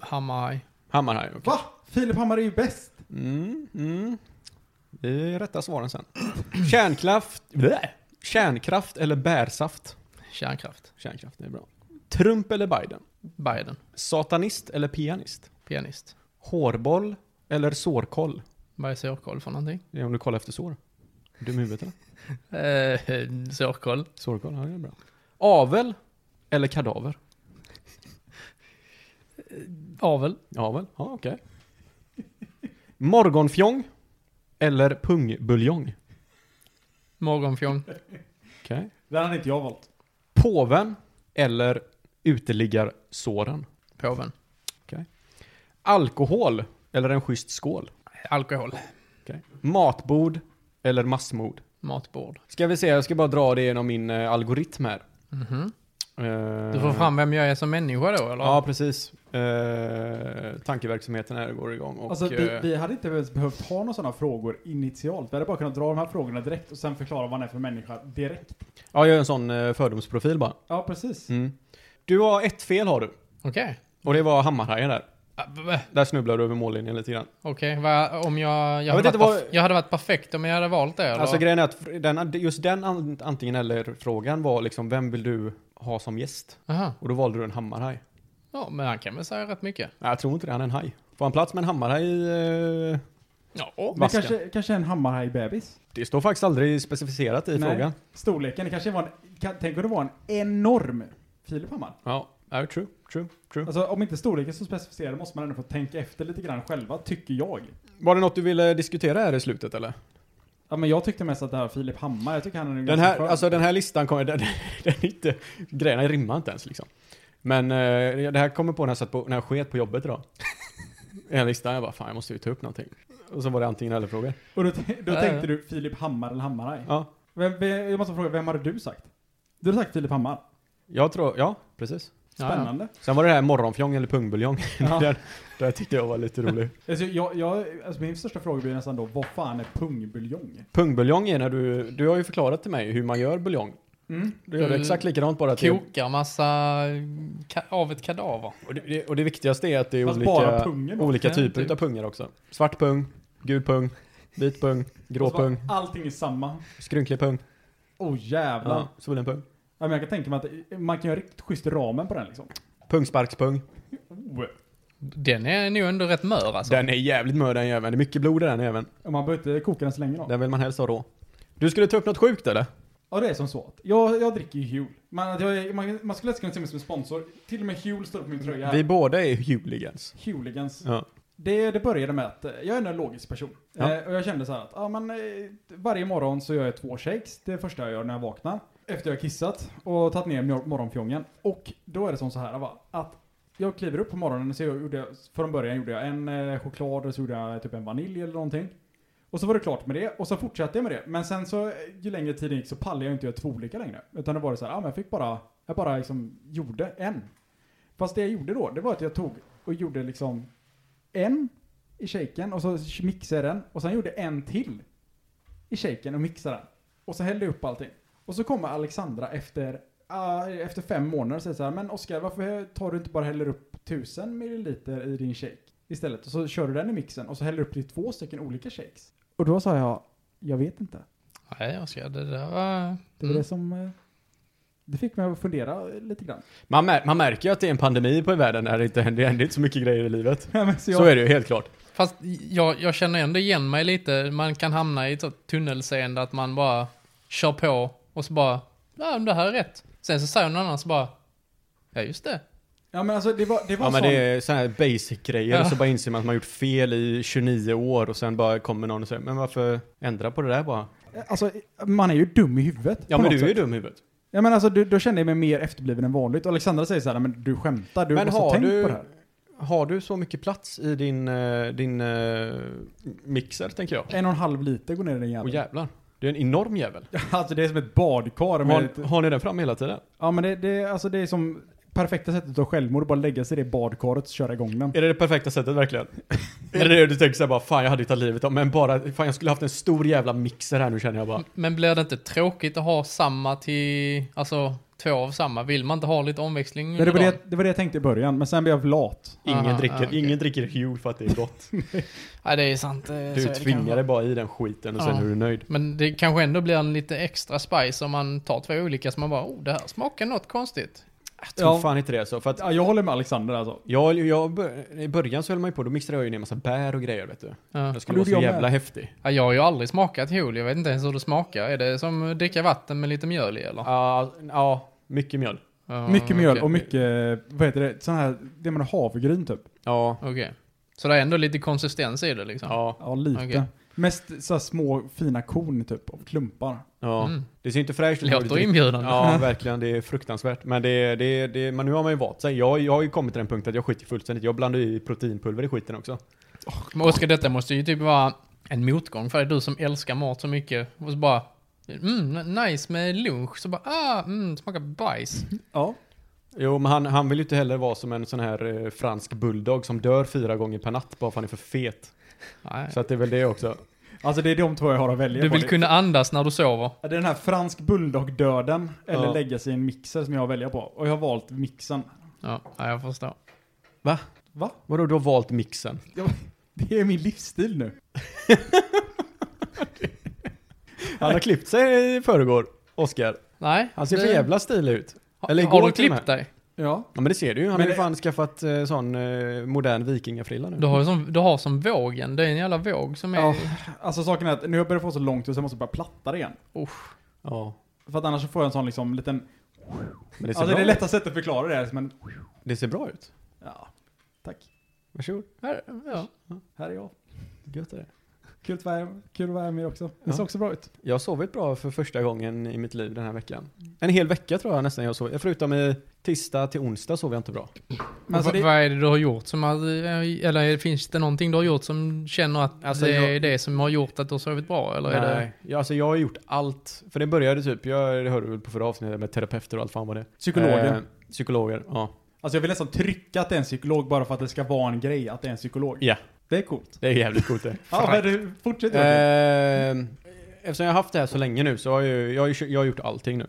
Speaker 4: Hammarhaj.
Speaker 3: Hammarhaj, okej.
Speaker 1: Va? Filip Hammar är ju bäst.
Speaker 3: Mm, mm. Det är rätta svaren sen. Kärnkraft... Blä. Kärnkraft eller bärsaft?
Speaker 4: Kärnkraft.
Speaker 3: Kärnkraft, det är bra. Trump eller Biden?
Speaker 4: Biden.
Speaker 3: Satanist eller pianist?
Speaker 4: Pianist.
Speaker 3: Hårboll Eller sårkoll.
Speaker 4: Vad är sårkoll för någonting?
Speaker 3: Det är om du kollar efter sår. Dum i huvudet eller?
Speaker 4: Eh, sårkoll.
Speaker 3: Sårkoll, ja det är bra. Avel eller kadaver?
Speaker 4: Avel.
Speaker 3: Avel, ja okej. Morgonfjong eller pungbuljong?
Speaker 4: Morgonfjong.
Speaker 3: Okej.
Speaker 1: Den hade inte jag valt.
Speaker 3: Påven eller uteliggarsåren?
Speaker 4: Påven.
Speaker 3: Alkohol eller en schysst skål?
Speaker 4: Alkohol.
Speaker 3: Okej. Matbord eller massmord?
Speaker 4: Matbord.
Speaker 3: Ska vi se, jag ska bara dra det genom min eh, algoritm här.
Speaker 4: Mhm.
Speaker 3: Eh,
Speaker 4: Du får fram vem jag är som människa då, eller?
Speaker 3: Ja, precis. Eh, tankeverksamheten här går igång och...
Speaker 1: alltså, vi,
Speaker 3: eh,
Speaker 1: vi hade inte ens behövt ha några sådana frågor initialt. Vi hade bara kunnat dra de här frågorna direkt och sen förklara vad han är för människa direkt. Mm.
Speaker 3: Ja, jag gör en sån eh, fördomsprofil bara. Mm.
Speaker 1: Ja, precis.
Speaker 3: Du har ett fel har du.
Speaker 4: Okej.
Speaker 3: Och det var Hammarhajen där.
Speaker 4: Ah, b- b-
Speaker 3: Där snubblade du över mållinjen lite grann.
Speaker 4: Okej, vad- om jag... Jag,
Speaker 3: vet
Speaker 4: hade varit
Speaker 3: inte vad-
Speaker 4: perf- jag hade varit perfekt om jag hade valt det, eller?
Speaker 3: Alltså grejen är att den, just den an- antingen eller-frågan var liksom, vem vill du ha som gäst?
Speaker 4: Aha.
Speaker 3: Och då valde du en hammarhaj.
Speaker 4: Ja, men han kan väl säga rätt mycket.
Speaker 3: Nej, jag tror inte det, han är en haj. Får han plats med en hammarhaj i... Eh,
Speaker 4: Ja.
Speaker 1: Men
Speaker 3: Vasken.
Speaker 1: kanske, kanske en hammarhaj-bebis?
Speaker 3: det står faktiskt aldrig specificerat i
Speaker 1: Nej.
Speaker 3: frågan.
Speaker 1: Storleken, det kanske var en, kan, tänk om det var en enorm Filiphammar.
Speaker 3: Ja, ja, true, true, true.
Speaker 1: Alltså om inte storleken så specificerar måste man ändå få tänka efter lite grann själva, tycker jag.
Speaker 3: Var det något du ville diskutera här i slutet eller?
Speaker 1: Ja men jag tyckte mest att det här Filip Hammar, jag tycker han är en
Speaker 3: Den
Speaker 1: ganska
Speaker 3: här,
Speaker 1: skön-
Speaker 3: alltså den här listan kommer, den, den är inte, grejerna rimmar inte ens liksom. Men eh, det här kommer på när jag satt på, när jag sket på jobbet idag. Den här listan, jag bara fan jag måste ju ta upp någonting. Och så var det antingen eller frågor.
Speaker 1: Och då, t- då
Speaker 4: Ja, ja.
Speaker 1: tänkte du Filip Hammar eller Hammaraj?
Speaker 3: Ja,
Speaker 1: Vem, vem, jag måste fråga, vem hade du sagt? Du hade sagt Filip Hammar.
Speaker 3: jag tror, ja precis.
Speaker 4: Ja, ja.
Speaker 1: Spännande.
Speaker 3: Sen var det här morgonfjong eller pungbuljong.
Speaker 1: Ja.
Speaker 3: den, den tyckte jag var lite rolig.
Speaker 1: Alltså, jag, jag, alltså, min största fråga blir nästan då, vad fan är pungbuljong?
Speaker 3: Pungbuljong är när du, du har ju förklarat till mig hur man gör buljong.
Speaker 4: Mm.
Speaker 3: Du gör det
Speaker 1: Mm.
Speaker 4: Du
Speaker 3: exakt likadant bara att det,
Speaker 4: Kokar massa ka- av ett kadaver.
Speaker 3: och det, och det viktigaste är att det är
Speaker 1: Fast
Speaker 3: olika,
Speaker 1: bara pungen då.
Speaker 3: olika
Speaker 4: Ja,
Speaker 3: typer
Speaker 4: typ.
Speaker 3: utav pungar också. Svart pung, gul pung, vit pung, grå
Speaker 1: Alltså,
Speaker 3: pung,
Speaker 1: Allting är samma.
Speaker 3: skrynklig pung.
Speaker 1: Oh jävlar.
Speaker 3: Ja,
Speaker 1: Ja.
Speaker 3: svullen pung.
Speaker 1: men jag kan tänka mig att man kan göra riktigt schysst ramen på den liksom.
Speaker 3: Pungsparkspung.
Speaker 1: Oh.
Speaker 4: Den är nog ändå rätt mör alltså.
Speaker 3: Den är jävligt mör den jäveln. Det är mycket blod i den även.
Speaker 1: Och Man behöver inte koka den så länge då.
Speaker 3: Den vill man helst ha rå. Du skulle ta upp något sjukt eller?
Speaker 1: Ja det är som så att jag, jag dricker ju Huel. Man, att jag, man, man skulle lätt kunna se mig som en sponsor. Till och med Huel står på min tröja här.
Speaker 3: Vi båda är hooligans.
Speaker 1: Hooligans.
Speaker 3: Ja.
Speaker 1: Det, det började med att eh, jag är en logisk person.
Speaker 3: Ja.
Speaker 1: Eh, och jag kände så här att ja, men, eh, varje morgon så gör jag två shakes. Det är det första jag gör när jag vaknar. Efter jag har kissat och tagit ner mor- morgonfjongen. Och då är det som så här va, att jag kliver upp på morgonen och så jag gjorde jag, från början gjorde jag en eh, choklad och så gjorde jag typ en vanilj eller någonting. Och så var det klart med det och så fortsatte jag med det. Men sen så eh, ju längre tiden gick så pallade jag inte göra två olika längre. Utan det var det så här, ja men jag fick bara, jag bara liksom gjorde en. Fast det jag gjorde då, det var att jag tog och gjorde liksom en i shaken och så mixade jag den och sen gjorde jag en till i shaken och mixade den. Och så hällde jag upp allting. Och så kommer Alexandra efter, ah, efter fem månader och säger så här, men Oskar varför tar du inte bara häller upp tusen milliliter i din shake istället? Och så kör du den i mixen och så häller du upp till två stycken olika shakes. Och då sa jag, jag vet inte.
Speaker 4: Nej, jag ska, det där var...
Speaker 1: Det var
Speaker 4: Mm.
Speaker 1: det som, eh, det fick mig att fundera lite grann.
Speaker 3: Man, mär- man märker ju att det är en pandemi på i världen där det inte händer, det händer inte så mycket grejer i livet.
Speaker 1: Ja, men så jag-
Speaker 3: Så är det ju helt klart.
Speaker 4: Fast jag, jag känner ändå igen mig lite. Man kan hamna i ett sånt tunnelseende att man bara kör på och så bara, ja men det här är rätt. Sen så säger någon annan så bara, ja just det.
Speaker 1: Ja men alltså det var, det var
Speaker 3: Ja men
Speaker 1: sån-
Speaker 3: det är sådana här basic grejer och så
Speaker 4: Ja.
Speaker 3: bara inser man att man har gjort fel i 29 år och sen bara kommer någon och säger men varför ändra på det där bara?
Speaker 1: Alltså, man är ju dum i huvudet.
Speaker 3: Ja
Speaker 1: på
Speaker 3: men du
Speaker 1: något
Speaker 3: är ju
Speaker 1: sätt.
Speaker 3: dum i huvudet.
Speaker 1: Ja men alltså, du, då kände jag mig mer efterbliven än vanligt. Och Alexandra säger så här, men du skämtar, du
Speaker 3: Men
Speaker 1: måste
Speaker 3: har
Speaker 1: tänkt
Speaker 3: du-
Speaker 1: på det här.
Speaker 3: Har du så mycket plats i din, eh, din eh, mixer tänker jag?
Speaker 1: En och en halv liter går ner i den
Speaker 3: Åh
Speaker 1: jäveln.
Speaker 3: jävlar. Det är en enorm jävel.
Speaker 1: Alltså det är som ett badkar med...
Speaker 3: Har, har ni den fram hela tiden?
Speaker 1: Ja men det, det, alltså, det är som perfekta sättet att självmord, bara lägga sig i det badkaret och köra igång den.
Speaker 3: Är det det perfekta sättet verkligen? är det det du tänker såhär bara, fan jag hade tagit livet av men bara, fan jag skulle haft en stor jävla mixer här nu känner jag bara.
Speaker 4: Men blir det inte tråkigt att ha samma till, alltså två av samma? Vill man inte ha lite omväxling
Speaker 1: Ja, det, var
Speaker 4: under
Speaker 1: det,
Speaker 4: dagen?
Speaker 1: det var det jag tänkte i början, men sen blev jag lat.
Speaker 3: Ingen
Speaker 4: Aha,
Speaker 3: dricker,
Speaker 4: ja, okej.
Speaker 3: ingen dricker Huel för att det är gott.
Speaker 4: Nej, det är sant. eh, så är
Speaker 3: Du
Speaker 4: det
Speaker 3: tvingar
Speaker 4: kanske.
Speaker 3: dig bara i den skiten och
Speaker 4: Ja.
Speaker 3: sen är du nöjd.
Speaker 4: Men det kanske ändå blir en lite extra spice om man tar två olika så man bara, oh det här smakar något konstigt.
Speaker 3: Jag tror
Speaker 1: Ja.
Speaker 3: fan inte det så. För att
Speaker 1: Ja, jag håller med Alexander alltså.
Speaker 3: jag, jag, bör- I början så höll man ju på, då mixade jag ju ner massa bär och grejer vet du.
Speaker 4: Ja.
Speaker 3: Jag skulle
Speaker 1: Ja, det
Speaker 3: vara
Speaker 1: gjorde
Speaker 3: så
Speaker 1: jag
Speaker 3: jävla
Speaker 1: med.
Speaker 3: häftig.
Speaker 4: Ja, jag har ju aldrig smakat jul, jag vet inte ens hur det smakar. Är det som att dricka vatten med lite mjöl i eller?
Speaker 3: Ja, ja, mycket mjöl.
Speaker 4: Ja,
Speaker 1: Mycket mjöl
Speaker 4: Ah, okej.
Speaker 1: och mycket, vad heter det, sån här, det man har havregryn typ.
Speaker 3: Ja,
Speaker 4: Okej. Så det är ändå lite konsistens i det liksom?
Speaker 3: ja,
Speaker 1: Ja, lite.
Speaker 4: Okej.
Speaker 1: Mest så här små fina korn typ, av klumpar.
Speaker 3: ja.
Speaker 4: Mm.
Speaker 3: Det ser inte fräscht ut. när du
Speaker 4: Låter
Speaker 3: dricker.
Speaker 4: inbjudande.
Speaker 3: Ja, verkligen. Det är fruktansvärt. Men, det, det, det, men nu har man ju valt sig. Jag, jag har ju kommit till den punkten att jag skiter fullständigt. Jag blandar ju i proteinpulver i skiten också.
Speaker 4: Men Oskar, detta måste ju typ vara en motgång för dig. Du som älskar mat så mycket. Och så bara, mm, nice med lunch. Så bara, ah, mm, smakar bajs.
Speaker 1: Ja.
Speaker 3: Jo, men han, han vill ju inte heller vara som en sån här eh, fransk bulldog som dör fyra gånger per natt bara för att han är för fet.
Speaker 4: Nej.
Speaker 3: Så att det är väl det också.
Speaker 1: Alltså det är de två jag har att välja
Speaker 4: Du
Speaker 1: på.
Speaker 4: vill
Speaker 1: Det-
Speaker 4: kunna andas när du sover.
Speaker 1: Det är den här fransk bulldog-döden, eller
Speaker 3: Ja.
Speaker 1: lägga sig i en mixer som jag väljer på. Och jag har valt mixen.
Speaker 4: Ja, ja jag förstår.
Speaker 1: Va?
Speaker 3: Vadå, du har valt mixen?
Speaker 1: Det är min livsstil nu.
Speaker 3: Han har klippt sig i förrgår, Oskar.
Speaker 4: Nej.
Speaker 3: Han ser
Speaker 4: det-
Speaker 3: för Alltså, jävla stilig ut.
Speaker 4: Ha-
Speaker 3: eller
Speaker 4: Har
Speaker 3: igår
Speaker 4: du
Speaker 3: till och
Speaker 4: klippt dig?
Speaker 1: Ja.
Speaker 3: Ja, men det ser du ju. Han
Speaker 1: Men
Speaker 3: har ju
Speaker 1: det-
Speaker 3: fan skaffat eh, sån eh, modern vikingafrilla nu.
Speaker 4: Du har, ju som, du har som vågen. Det är en jävla våg som är...
Speaker 1: ja. Alltså saken är att nu har jag börjat få så långt ut så jag måste börja platta det igen.
Speaker 3: Ja.
Speaker 1: För att annars så får jag en sån liksom liten...
Speaker 3: Men det ser,
Speaker 1: alltså
Speaker 3: bra.
Speaker 1: det är lätta sättet att förklara det här, men...
Speaker 3: det ser bra ut.
Speaker 1: Ja. Tack.
Speaker 3: Varsågod.
Speaker 4: Här- Ja.
Speaker 1: Här är jag.
Speaker 3: Gött är det.
Speaker 1: Kul att vara här, kul att vara här med er också. Det
Speaker 3: Ja.
Speaker 1: ser också bra ut.
Speaker 3: Jag har sovit bra för första gången i mitt liv den här veckan. En hel vecka tror jag nästan jag sov. Förutom i tisdag till onsdag sov jag inte bra.
Speaker 1: Men alltså
Speaker 4: Och v-
Speaker 1: det,
Speaker 4: Vad är det du har gjort som har, eh, Eller finns det någonting du har gjort som känner att
Speaker 3: Alltså,
Speaker 4: det är
Speaker 3: jag-
Speaker 4: det som har gjort att du har sovit bra? Eller är det...
Speaker 3: Nej, jag, alltså jag har gjort allt. För det började typ, jag det hörde väl på förra avsnittet med terapeuter och allt fan vad det är.
Speaker 1: Psykologer.
Speaker 3: Eh, psykologer, ja.
Speaker 1: alltså jag vill nästan trycka att det är en psykolog bara för att det ska vara en grej att det är en psykolog.
Speaker 3: Ja.
Speaker 1: Det är coolt.
Speaker 3: Det är jävligt coolt det.
Speaker 1: Ja, men du, fortsätt Joakim.
Speaker 3: Eh, eftersom jag har haft det här så länge nu så har jag, ju- jag, har ju kö- jag har gjort allting nu.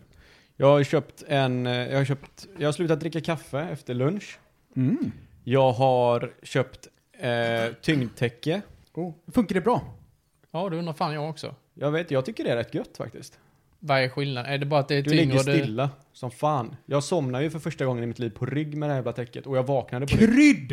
Speaker 3: Jag har köpt en, eh, jag har köpt, jag har slutat dricka kaffe efter lunch.
Speaker 1: Mm.
Speaker 3: Jag har köpt eh, tyngdtäcke.
Speaker 1: Oh. Funkar det bra?
Speaker 4: Ja, du undrar fan jag också.
Speaker 3: Jag vet, jag tycker det är rätt gött faktiskt.
Speaker 4: Vad är skillnaden? Är det bara att det är
Speaker 3: Du
Speaker 4: tyngre
Speaker 3: ligger
Speaker 4: och det-
Speaker 3: stilla som fan. Jag somnade ju för första gången i mitt liv på rygg med det här jävla täcket och jag vaknade på rygg.
Speaker 1: Krydd!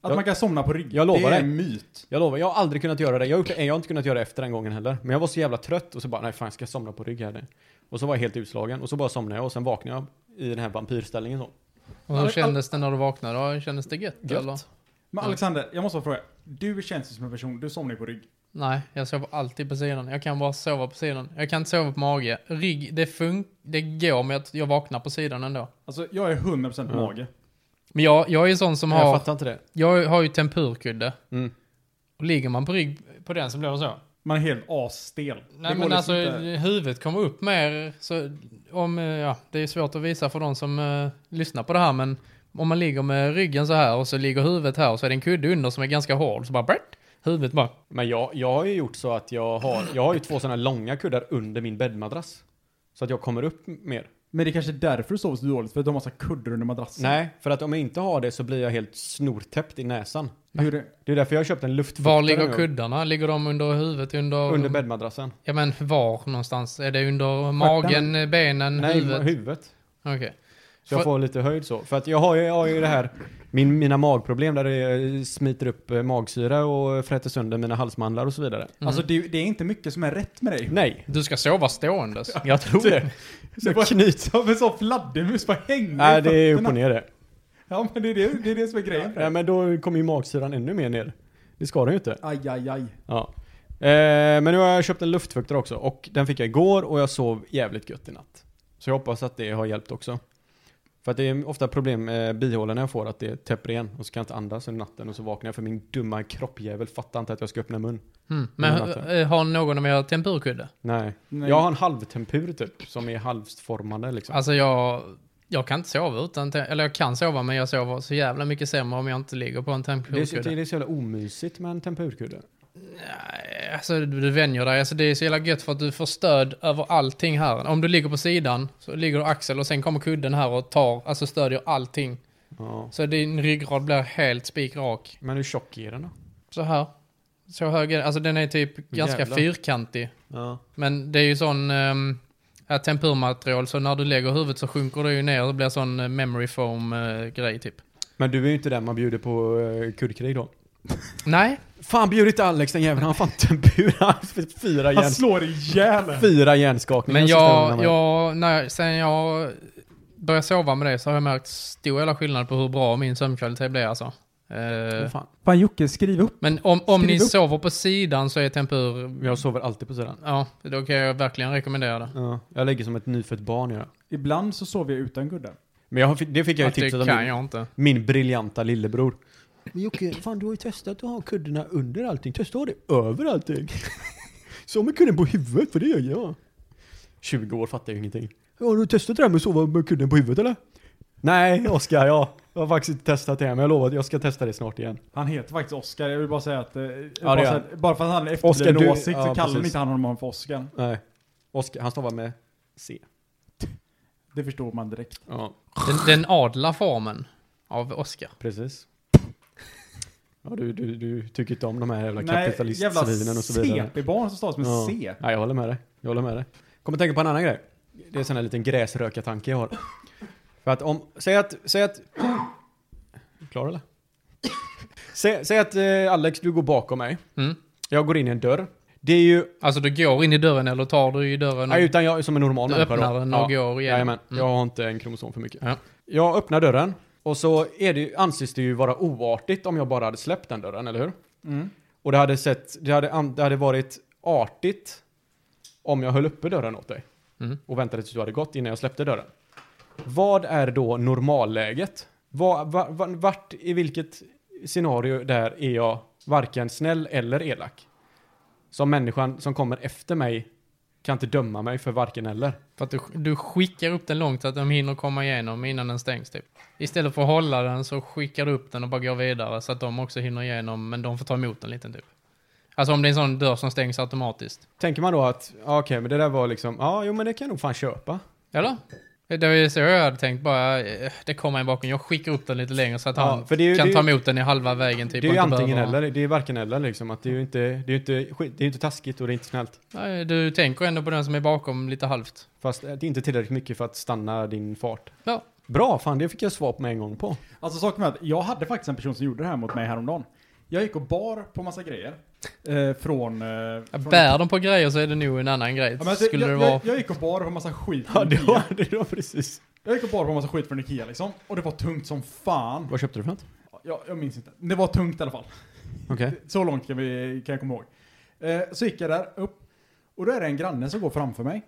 Speaker 1: Att
Speaker 3: Jag-
Speaker 1: man kan somna på rygg.
Speaker 3: jag lovar
Speaker 1: det är
Speaker 3: dig.
Speaker 1: en myt.
Speaker 3: Jag lovar, jag har aldrig kunnat göra det. Jag har, gjort det. en- jag har inte kunnat göra det efter den gången heller. Men jag var så jävla trött och så bara, nej fan jag ska somna på rygg här nu. Och så var jag helt utslagen och så bara somnade jag och sen vaknade jag i den här vampyrställningen så.
Speaker 4: Och hur kändes det när du vaknade? Ja, Kändes det gött,
Speaker 3: Gött.
Speaker 4: eller?
Speaker 1: Men
Speaker 4: Ja.
Speaker 1: Alexander, jag måste bara fråga. Du känns ju som en person, du somnar ju på rygg.
Speaker 4: Nej, jag sover alltid på sidan. Jag kan bara sova på sidan. Jag kan inte sova på mage. Rygg, det funkar, det går men jag- jag vaknar på sidan ändå.
Speaker 1: Alltså jag är 100%
Speaker 3: Ja.
Speaker 1: mage.
Speaker 4: Men jag, jag är ju sån som
Speaker 3: Jag
Speaker 4: har,
Speaker 3: fattar inte det.
Speaker 4: jag har ju tempurkudde.
Speaker 3: Mm.
Speaker 4: Och ligger man på rygg på den så blir det så.
Speaker 1: Man är helt asstel.
Speaker 4: Nej
Speaker 1: Det går
Speaker 4: men
Speaker 1: liksom
Speaker 4: alltså
Speaker 1: inte-
Speaker 4: huvudet kommer upp mer. Så om, eh, ja, det är svårt att visa för de som eh, lyssnar på det här men om man ligger med ryggen så här och så ligger huvudet här och så är det en kudde under som är ganska hård så bara brärt, huvudet bara.
Speaker 3: Men jag, jag har ju gjort så att jag har, jag har ju två sådana långa kuddar under min bäddmadrass. Så att jag kommer upp m- mer.
Speaker 1: Men det är kanske är därför du sover så dåligt, för att du har massa kuddar under madrassen.
Speaker 3: Nej, för att om jag inte har det så blir jag helt snortäppt i näsan.
Speaker 1: Hur det...
Speaker 3: Det är därför jag har köpt en luftfuktare
Speaker 4: Var
Speaker 3: nu.
Speaker 4: ligger kuddarna? Ligger de under huvudet? Under,
Speaker 3: Under bäddmadrassen.
Speaker 4: Ja men var någonstans? Är det under magen, eh, benen,
Speaker 3: Nej,
Speaker 4: Mm. huvudet?
Speaker 3: huvudet.
Speaker 4: Okej.
Speaker 3: Så jag
Speaker 4: För-
Speaker 3: får lite höjd så. För att jag har ju, jag har ju det här, min, mina magproblem där det smiter upp eh, magsyra och fräter sönder mina halsmandlar och så vidare.
Speaker 4: Mm.
Speaker 1: Alltså det, är- det är inte mycket som är rätt med dig.
Speaker 3: Nej,
Speaker 4: Du ska sova ståendes. Mm.
Speaker 3: jag tror det.
Speaker 1: Det
Speaker 3: Så
Speaker 1: var-
Speaker 3: knyt.
Speaker 1: Som en sån fladdermus, bara hänger
Speaker 3: Nej,
Speaker 1: i
Speaker 3: det är upp
Speaker 1: fötterna.
Speaker 3: och ner det.
Speaker 1: Ja men det är det, det, är det som är grejen.
Speaker 3: Nej, men då kommer ju magsyran ännu mer ner. Det ska den ju inte.
Speaker 1: Aj, aj, aj.
Speaker 3: Ja. Eh, men nu har jag köpt en luftfuktare också och den fick jag igår och jag sov jävligt gött i natt. Så jag hoppas att det har hjälpt också. För att det är ofta problem med bihålorna jag får, att det täpper igen och så kan jag inte andas under natten och så vaknar jag för min dumma kroppjävel fattar inte att jag ska öppna mun.
Speaker 4: Mm.
Speaker 3: Mm,
Speaker 4: Men
Speaker 3: natten.
Speaker 4: eh, har någon av er tempurkudde?
Speaker 3: Nej.
Speaker 1: Nej.
Speaker 3: Jag har en halvtempur typ, som är halvformade liksom.
Speaker 4: Alltså jag, jag kan inte sova utan te- Eller jag kan sova men jag sover så jävla mycket sämre om jag inte ligger på en
Speaker 3: det, är så,
Speaker 4: tempurkudde.
Speaker 3: det är så jävla omysigt med en tempurkudde.
Speaker 4: Nej, Alltså du du vänjer dig. Alltså det är så jävla gött för att du får stöd över allting här. Om du ligger på sidan så ligger du axel och sen kommer kudden här och tar, alltså stödjer allting.
Speaker 3: Ja.
Speaker 4: Så din ryggrad blir helt spikrak.
Speaker 3: Men hur tjock är den då?
Speaker 4: Så här. Så hög är Alltså den är typ ganska
Speaker 3: Jävlar.
Speaker 4: fyrkantig.
Speaker 3: Ja.
Speaker 4: Men det är ju sån... ehm, är tempurmaterial så när du lägger huvudet så sjunker det ju ner och det blir sån eh, memory foam eh, grej typ.
Speaker 3: Men du är ju inte den man bjuder på eh, kuddkrig då.
Speaker 4: Nej,
Speaker 3: Fan bjud inte Alex den jäveln, han fan tempur. Han fick fyra,
Speaker 1: Han
Speaker 3: hjärn,
Speaker 1: slår ihjäl en.
Speaker 3: fyra hjärnskakningar.
Speaker 4: men
Speaker 3: sista gången
Speaker 4: jag,
Speaker 3: han var-
Speaker 4: jag, när, sen jag började sova med det så har jag märkt stor jävla skillnad på hur bra min sömnkvalitet blir alltså. Eh,
Speaker 3: Åh, fan.
Speaker 1: Fan Jocke, skriv upp.
Speaker 4: men om, om ni
Speaker 1: Skriv upp.
Speaker 4: sover på sidan så är tempur,
Speaker 3: Jag sover alltid på sidan.
Speaker 4: ja, då kan jag verkligen rekommendera det.
Speaker 3: Ja, jag lägger som ett nyfött barn gör jag.
Speaker 1: Ibland så sover jag utan gudde.
Speaker 3: Men jag, har- det fick jag ju
Speaker 4: Att det
Speaker 3: tipset av
Speaker 4: kan
Speaker 3: min,
Speaker 4: jag inte.
Speaker 3: min briljanta lillebror. Men Jocke, fan du har ju testat att ha kuddarna under allting. Testa att ha det över allting. Så med kudden på huvudet, för det gör jag. 20 år fattar jag ju ingenting. Ja, har du testat det här med att sova med kudden på huvudet eller? Nej, Oskar, jag jag har faktiskt inte testat det här, men jag lovar att jag ska testa det snart igen.
Speaker 1: Han heter faktiskt Oscar, jag vill bara säga att... Eh,
Speaker 3: gör
Speaker 1: bara, så
Speaker 3: han.
Speaker 1: att bara för att han
Speaker 3: Oscar,
Speaker 1: efterbliven
Speaker 3: du-
Speaker 1: åsikt så
Speaker 3: ja,
Speaker 1: kallar
Speaker 3: precis.
Speaker 1: inte han honom för Oscar.
Speaker 3: Nej. Oskar, han stavar med C.
Speaker 1: Det förstår man direkt.
Speaker 3: Ja,
Speaker 4: Den, den adla formen av Oscar.
Speaker 3: precis. Ja, du, du, du tycker inte om de här jävla
Speaker 1: Nej, jävla
Speaker 3: kapitalist-svinen och så vidare.
Speaker 1: CP-barn som stavas med
Speaker 3: Ja.
Speaker 1: C.
Speaker 3: Nej, jag håller med dig. Jag håller med dig. Kommer tänka på en annan grej. Det är en sån här liten gräsrökartanke jag har. För att om, säg att, säg att... Klar eller? Säg, säg att eh, Alex, du går bakom mig.
Speaker 4: Mm.
Speaker 3: Jag går in i en dörr. Det är ju,
Speaker 4: Alltså du går in i dörren eller tar du i dörren? och-
Speaker 3: nej, utan jag är som en normal
Speaker 4: Du
Speaker 3: människa då.
Speaker 4: öppnar den och går igenom.
Speaker 3: Jajamän,
Speaker 4: Mm.
Speaker 3: jag har inte en kromosom för mycket.
Speaker 4: Ja.
Speaker 3: Jag öppnar dörren och så är det, ju- anses det ju vara oartigt om jag bara hade släppt den dörren, eller hur?
Speaker 1: Mm.
Speaker 3: Och det hade, sett, det, hade, an- det hade varit artigt om jag höll uppe dörren åt dig.
Speaker 4: Mm.
Speaker 3: Och väntade tills du hade gått innan jag släppte dörren. Vad är då normalläget? Vad- va- va- vart, i vilket scenario där är jag varken snäll eller elak? Som människan som kommer efter mig kan inte döma mig för varken eller.
Speaker 4: För att du, du skickar upp den långt så att de hinner komma igenom innan den stängs typ. Istället för att hålla den så skickar du upp den och bara går vidare så att de också hinner igenom men de får ta emot den lite typ. Alltså om det är en sån dörr som stängs automatiskt.
Speaker 3: Tänker man då att, ja, okej, men det där var liksom, ja, jo, men det kan jag nog fan köpa.
Speaker 4: Eller? Det var ju så jag hade tänkt bara, eh, det kommer en bakom, jag skickar upp den lite längre så att
Speaker 3: Ja,
Speaker 4: han
Speaker 3: för det är ju-
Speaker 4: kan
Speaker 3: det är
Speaker 4: ta
Speaker 3: ju-
Speaker 4: emot den i halva vägen typ.
Speaker 3: det är
Speaker 4: och
Speaker 3: ju
Speaker 4: inte
Speaker 3: antingen
Speaker 4: behöver-
Speaker 3: eller, det är varken eller liksom. Att det är ju inte, det är ju inte, skit- det är ju inte taskigt och det är inte snällt.
Speaker 4: Nej, du tänker ändå på den som är bakom lite halvt.
Speaker 3: Fast eh, det är inte tillräckligt mycket för att stanna din fart.
Speaker 4: Ja.
Speaker 3: Bra, fan det fick jag svar på med en gång på.
Speaker 1: Alltså saken med att jag hade faktiskt en person som gjorde det här mot mig häromdagen. Jag gick och bar på massa grejer. Eh, från... Eh,
Speaker 4: Ja,
Speaker 1: från
Speaker 4: Bär de på grejer så är det nog en annan grej.
Speaker 1: Ja, men alltså,
Speaker 4: Skulle
Speaker 1: jag,
Speaker 4: det vara...
Speaker 1: jag, jag gick och bar på massa skit
Speaker 3: Ja,
Speaker 1: från
Speaker 3: det
Speaker 1: Ikea.
Speaker 3: var, det var precis.
Speaker 1: Jag gick och bar på massa skit från Ikea liksom. Och det var tungt som fan.
Speaker 3: Vad köpte du för något?
Speaker 1: Jag, jag minns inte. Det var tungt i alla fall.
Speaker 3: Okej.
Speaker 1: Så långt kan, vi, kan jag komma ihåg. Eh, så gick jag där upp. Och då är det en granne som går framför mig.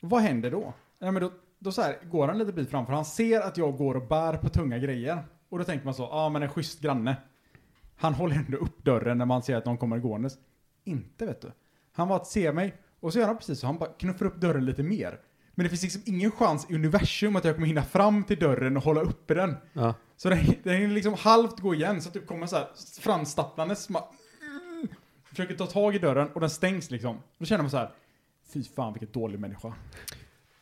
Speaker 1: Vad händer då? Nej, men då, då så här, går han lite bit framför. Han ser att jag går och bär på tunga grejer. Och då tänker man så, ja ah, men en schysst granne. Han håller ändå upp dörren när man ser att någon kommer gåendes. Inte vet du. Han var att se mig och så gör han precis så. Han bara knuffar upp dörren lite mer. Men det finns liksom ingen chans i universum att jag kommer hinna fram till dörren och hålla uppe den.
Speaker 3: Ja.
Speaker 1: Så den, den hinner liksom halvt gå igen, så typ kommer så här framstapplandes. som bara- mm, Försöker ta tag i dörren och den stängs liksom. Då känner man så här, fy fan vilket dålig människa.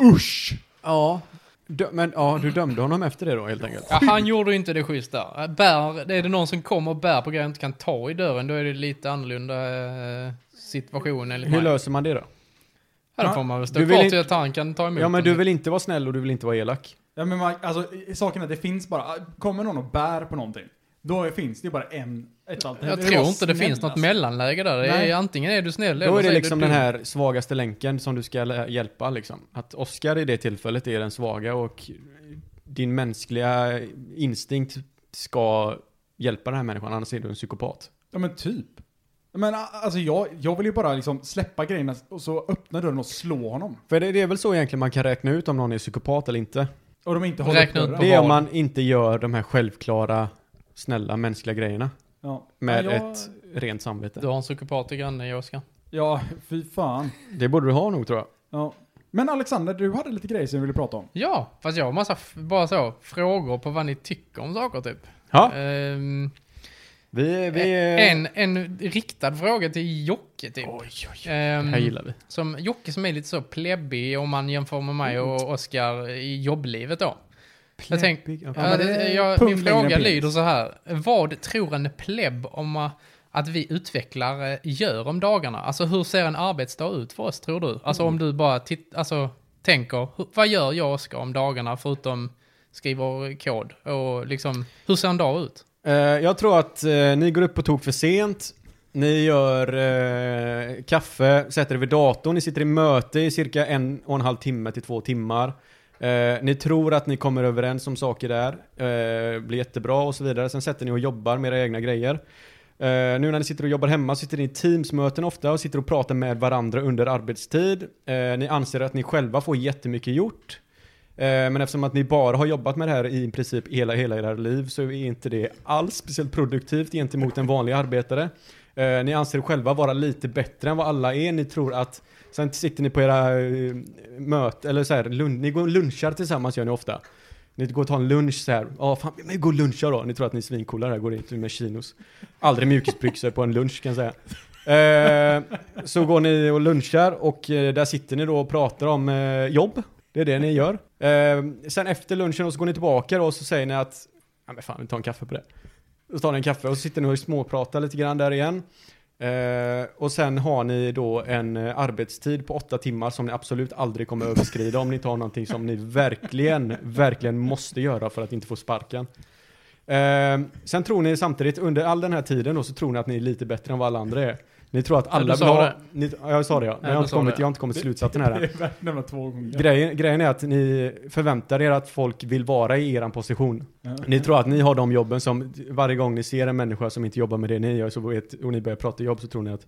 Speaker 1: Usch!
Speaker 3: Ja. Dö- men ja, du dömde honom efter det då helt enkelt?
Speaker 4: Ja, han gjorde ju inte det schysst där. Äh, Bär, är det någon som kommer och bär på grejer och inte kan ta i dörren, då är det lite annorlunda eh, situation enligt
Speaker 3: Hur
Speaker 4: mig.
Speaker 3: löser man det då?
Speaker 4: Ja, då får man väl stå
Speaker 3: Du vill
Speaker 4: kvar
Speaker 3: inte-
Speaker 4: till att han kan ta emot
Speaker 3: Ja, men
Speaker 4: den.
Speaker 3: du vill inte vara snäll och du vill inte vara elak.
Speaker 1: Ja men man, alltså i- saken är att det finns bara, kommer någon och bär på någonting, då är- finns det bara en, ett alternativ.
Speaker 4: Jag
Speaker 1: Det är bara
Speaker 4: tror inte det
Speaker 1: snäll,
Speaker 4: finns något
Speaker 1: alltså.
Speaker 4: mellanläge där. Det
Speaker 1: Nej.
Speaker 4: är, antingen är du snäll
Speaker 3: Då
Speaker 4: eller
Speaker 3: är
Speaker 4: så
Speaker 3: det liksom
Speaker 4: du
Speaker 3: den
Speaker 4: dum.
Speaker 3: här svagaste länken som du ska lä- hjälpa liksom. Att Oscar i det tillfället är den svaga och din mänskliga instinkt ska hjälpa den här människan, annars är du en psykopat.
Speaker 1: Ja men typ. Men a- alltså jag, jag vill ju bara liksom släppa grejerna och så öppna dörren och slå honom.
Speaker 3: För det, det är väl så egentligen man kan räkna ut om någon är psykopat eller inte.
Speaker 1: Och de inte håller upp
Speaker 4: Räkna ut
Speaker 1: dörren.
Speaker 4: på-
Speaker 3: Det är
Speaker 4: vad?
Speaker 3: om man inte gör de här självklara, snälla, mänskliga grejerna.
Speaker 1: Ja.
Speaker 3: Med
Speaker 1: ja, jag,
Speaker 3: ett rent samvete.
Speaker 4: Du har en psykopat i grannen, Oskar.
Speaker 1: Ja, fy fan.
Speaker 3: Det borde du ha nog tror jag.
Speaker 1: Ja. Men Alexander, du hade lite grejer som du ville prata om.
Speaker 4: Ja, fast jag har massa, f- bara så, frågor på vad ni tycker om saker typ.
Speaker 3: Ja,
Speaker 4: Ehm,
Speaker 3: vi... eh, vi
Speaker 4: en, en riktad fråga till Jocke typ.
Speaker 3: Oj, oj,
Speaker 4: Ehm,
Speaker 3: Det här gillar vi.
Speaker 4: Som Jocke som är lite så plebbig om man jämför med mig
Speaker 1: Mm.
Speaker 4: och Oskar i jobblivet då. Jag tänk,
Speaker 3: Plebbig, ja.
Speaker 4: ja,
Speaker 1: men det
Speaker 4: det,
Speaker 1: är
Speaker 4: jag,
Speaker 1: pung
Speaker 4: min
Speaker 1: längre
Speaker 4: fråga
Speaker 1: än penis.
Speaker 4: lyder så här. Vad tror en plebb om eh, att vi eh,
Speaker 1: Mm.
Speaker 4: utvecklare gör om dagarna? Alltså hur ser en arbetsdag ut för oss tror du? Alltså om du bara tittar, alltså tänker, "Hu- vad gör jag Oskar om dagarna förutom skriver kod? Och liksom, hur ser en dag ut?
Speaker 3: Eh, jag tror att eh, ni går upp på tok för sent. Ni gör eh, kaffe, sätter er vid datorn, ni sitter i möte i cirka en och en halv timme till två timmar. Eh, ni tror att ni kommer överens om saker där, eh, blir jättebra och så vidare. Sen sätter ni och jobbar med era egna grejer. Eh, nu när ni sitter och jobbar hemma sitter ni i Teams-möten ofta och sitter och pratar med varandra under arbetstid. Eh, ni anser att ni själva får jättemycket gjort. Eh, Men eftersom att ni bara har jobbat med det här i princip hela, hela era liv så är inte det alls speciellt produktivt gentemot en vanlig arbetare. Eh, Ni anser själva vara lite bättre än vad alla är. Ni tror att, sen sitter ni på era eh, möten, eller så här, lun- ni går och lunchar tillsammans gör ni ofta. Ni går och tar en lunch så här, ja fan, vi går och lunchar då. Ni tror att ni är svincoola där, går in med chinos. Aldrig mjukisbyxor på en lunch kan jag säga. Eh, så går ni och lunchar och eh, där sitter ni då och pratar om eh, jobb. Det är det ni gör. Eh, sen efter lunchen och så går ni tillbaka då och så säger ni att ja men fan vi tar en kaffe på det. Så tar ni en kaffe och så sitter ni och småpratar lite grann där igen. Eh, och sen har ni då en eh, arbetstid på åtta timmar som ni absolut aldrig kommer överskrida om ni inte har någonting som ni verkligen, verkligen måste göra för att inte få sparken. Eh, sen tror ni samtidigt under all den här tiden då så tror ni att ni är lite bättre än vad alla andra är. Ni tror att alla
Speaker 4: du sa
Speaker 3: vill ha...
Speaker 4: det.
Speaker 3: Ni, ja, jag sa det ja. Men
Speaker 4: du
Speaker 3: jag, har inte
Speaker 4: sa det.
Speaker 3: kommit, jag har inte kommit till slutsatsen här än.
Speaker 1: Det är värt att nämna två gånger.
Speaker 3: Grejen, grejen är att ni förväntar er att folk vill vara i eran position.
Speaker 1: Ja.
Speaker 3: Ni tror att ni har de jobben som varje gång ni ser en människa som inte jobbar med det ni gör så vet, och ni börjar prata jobb så tror ni att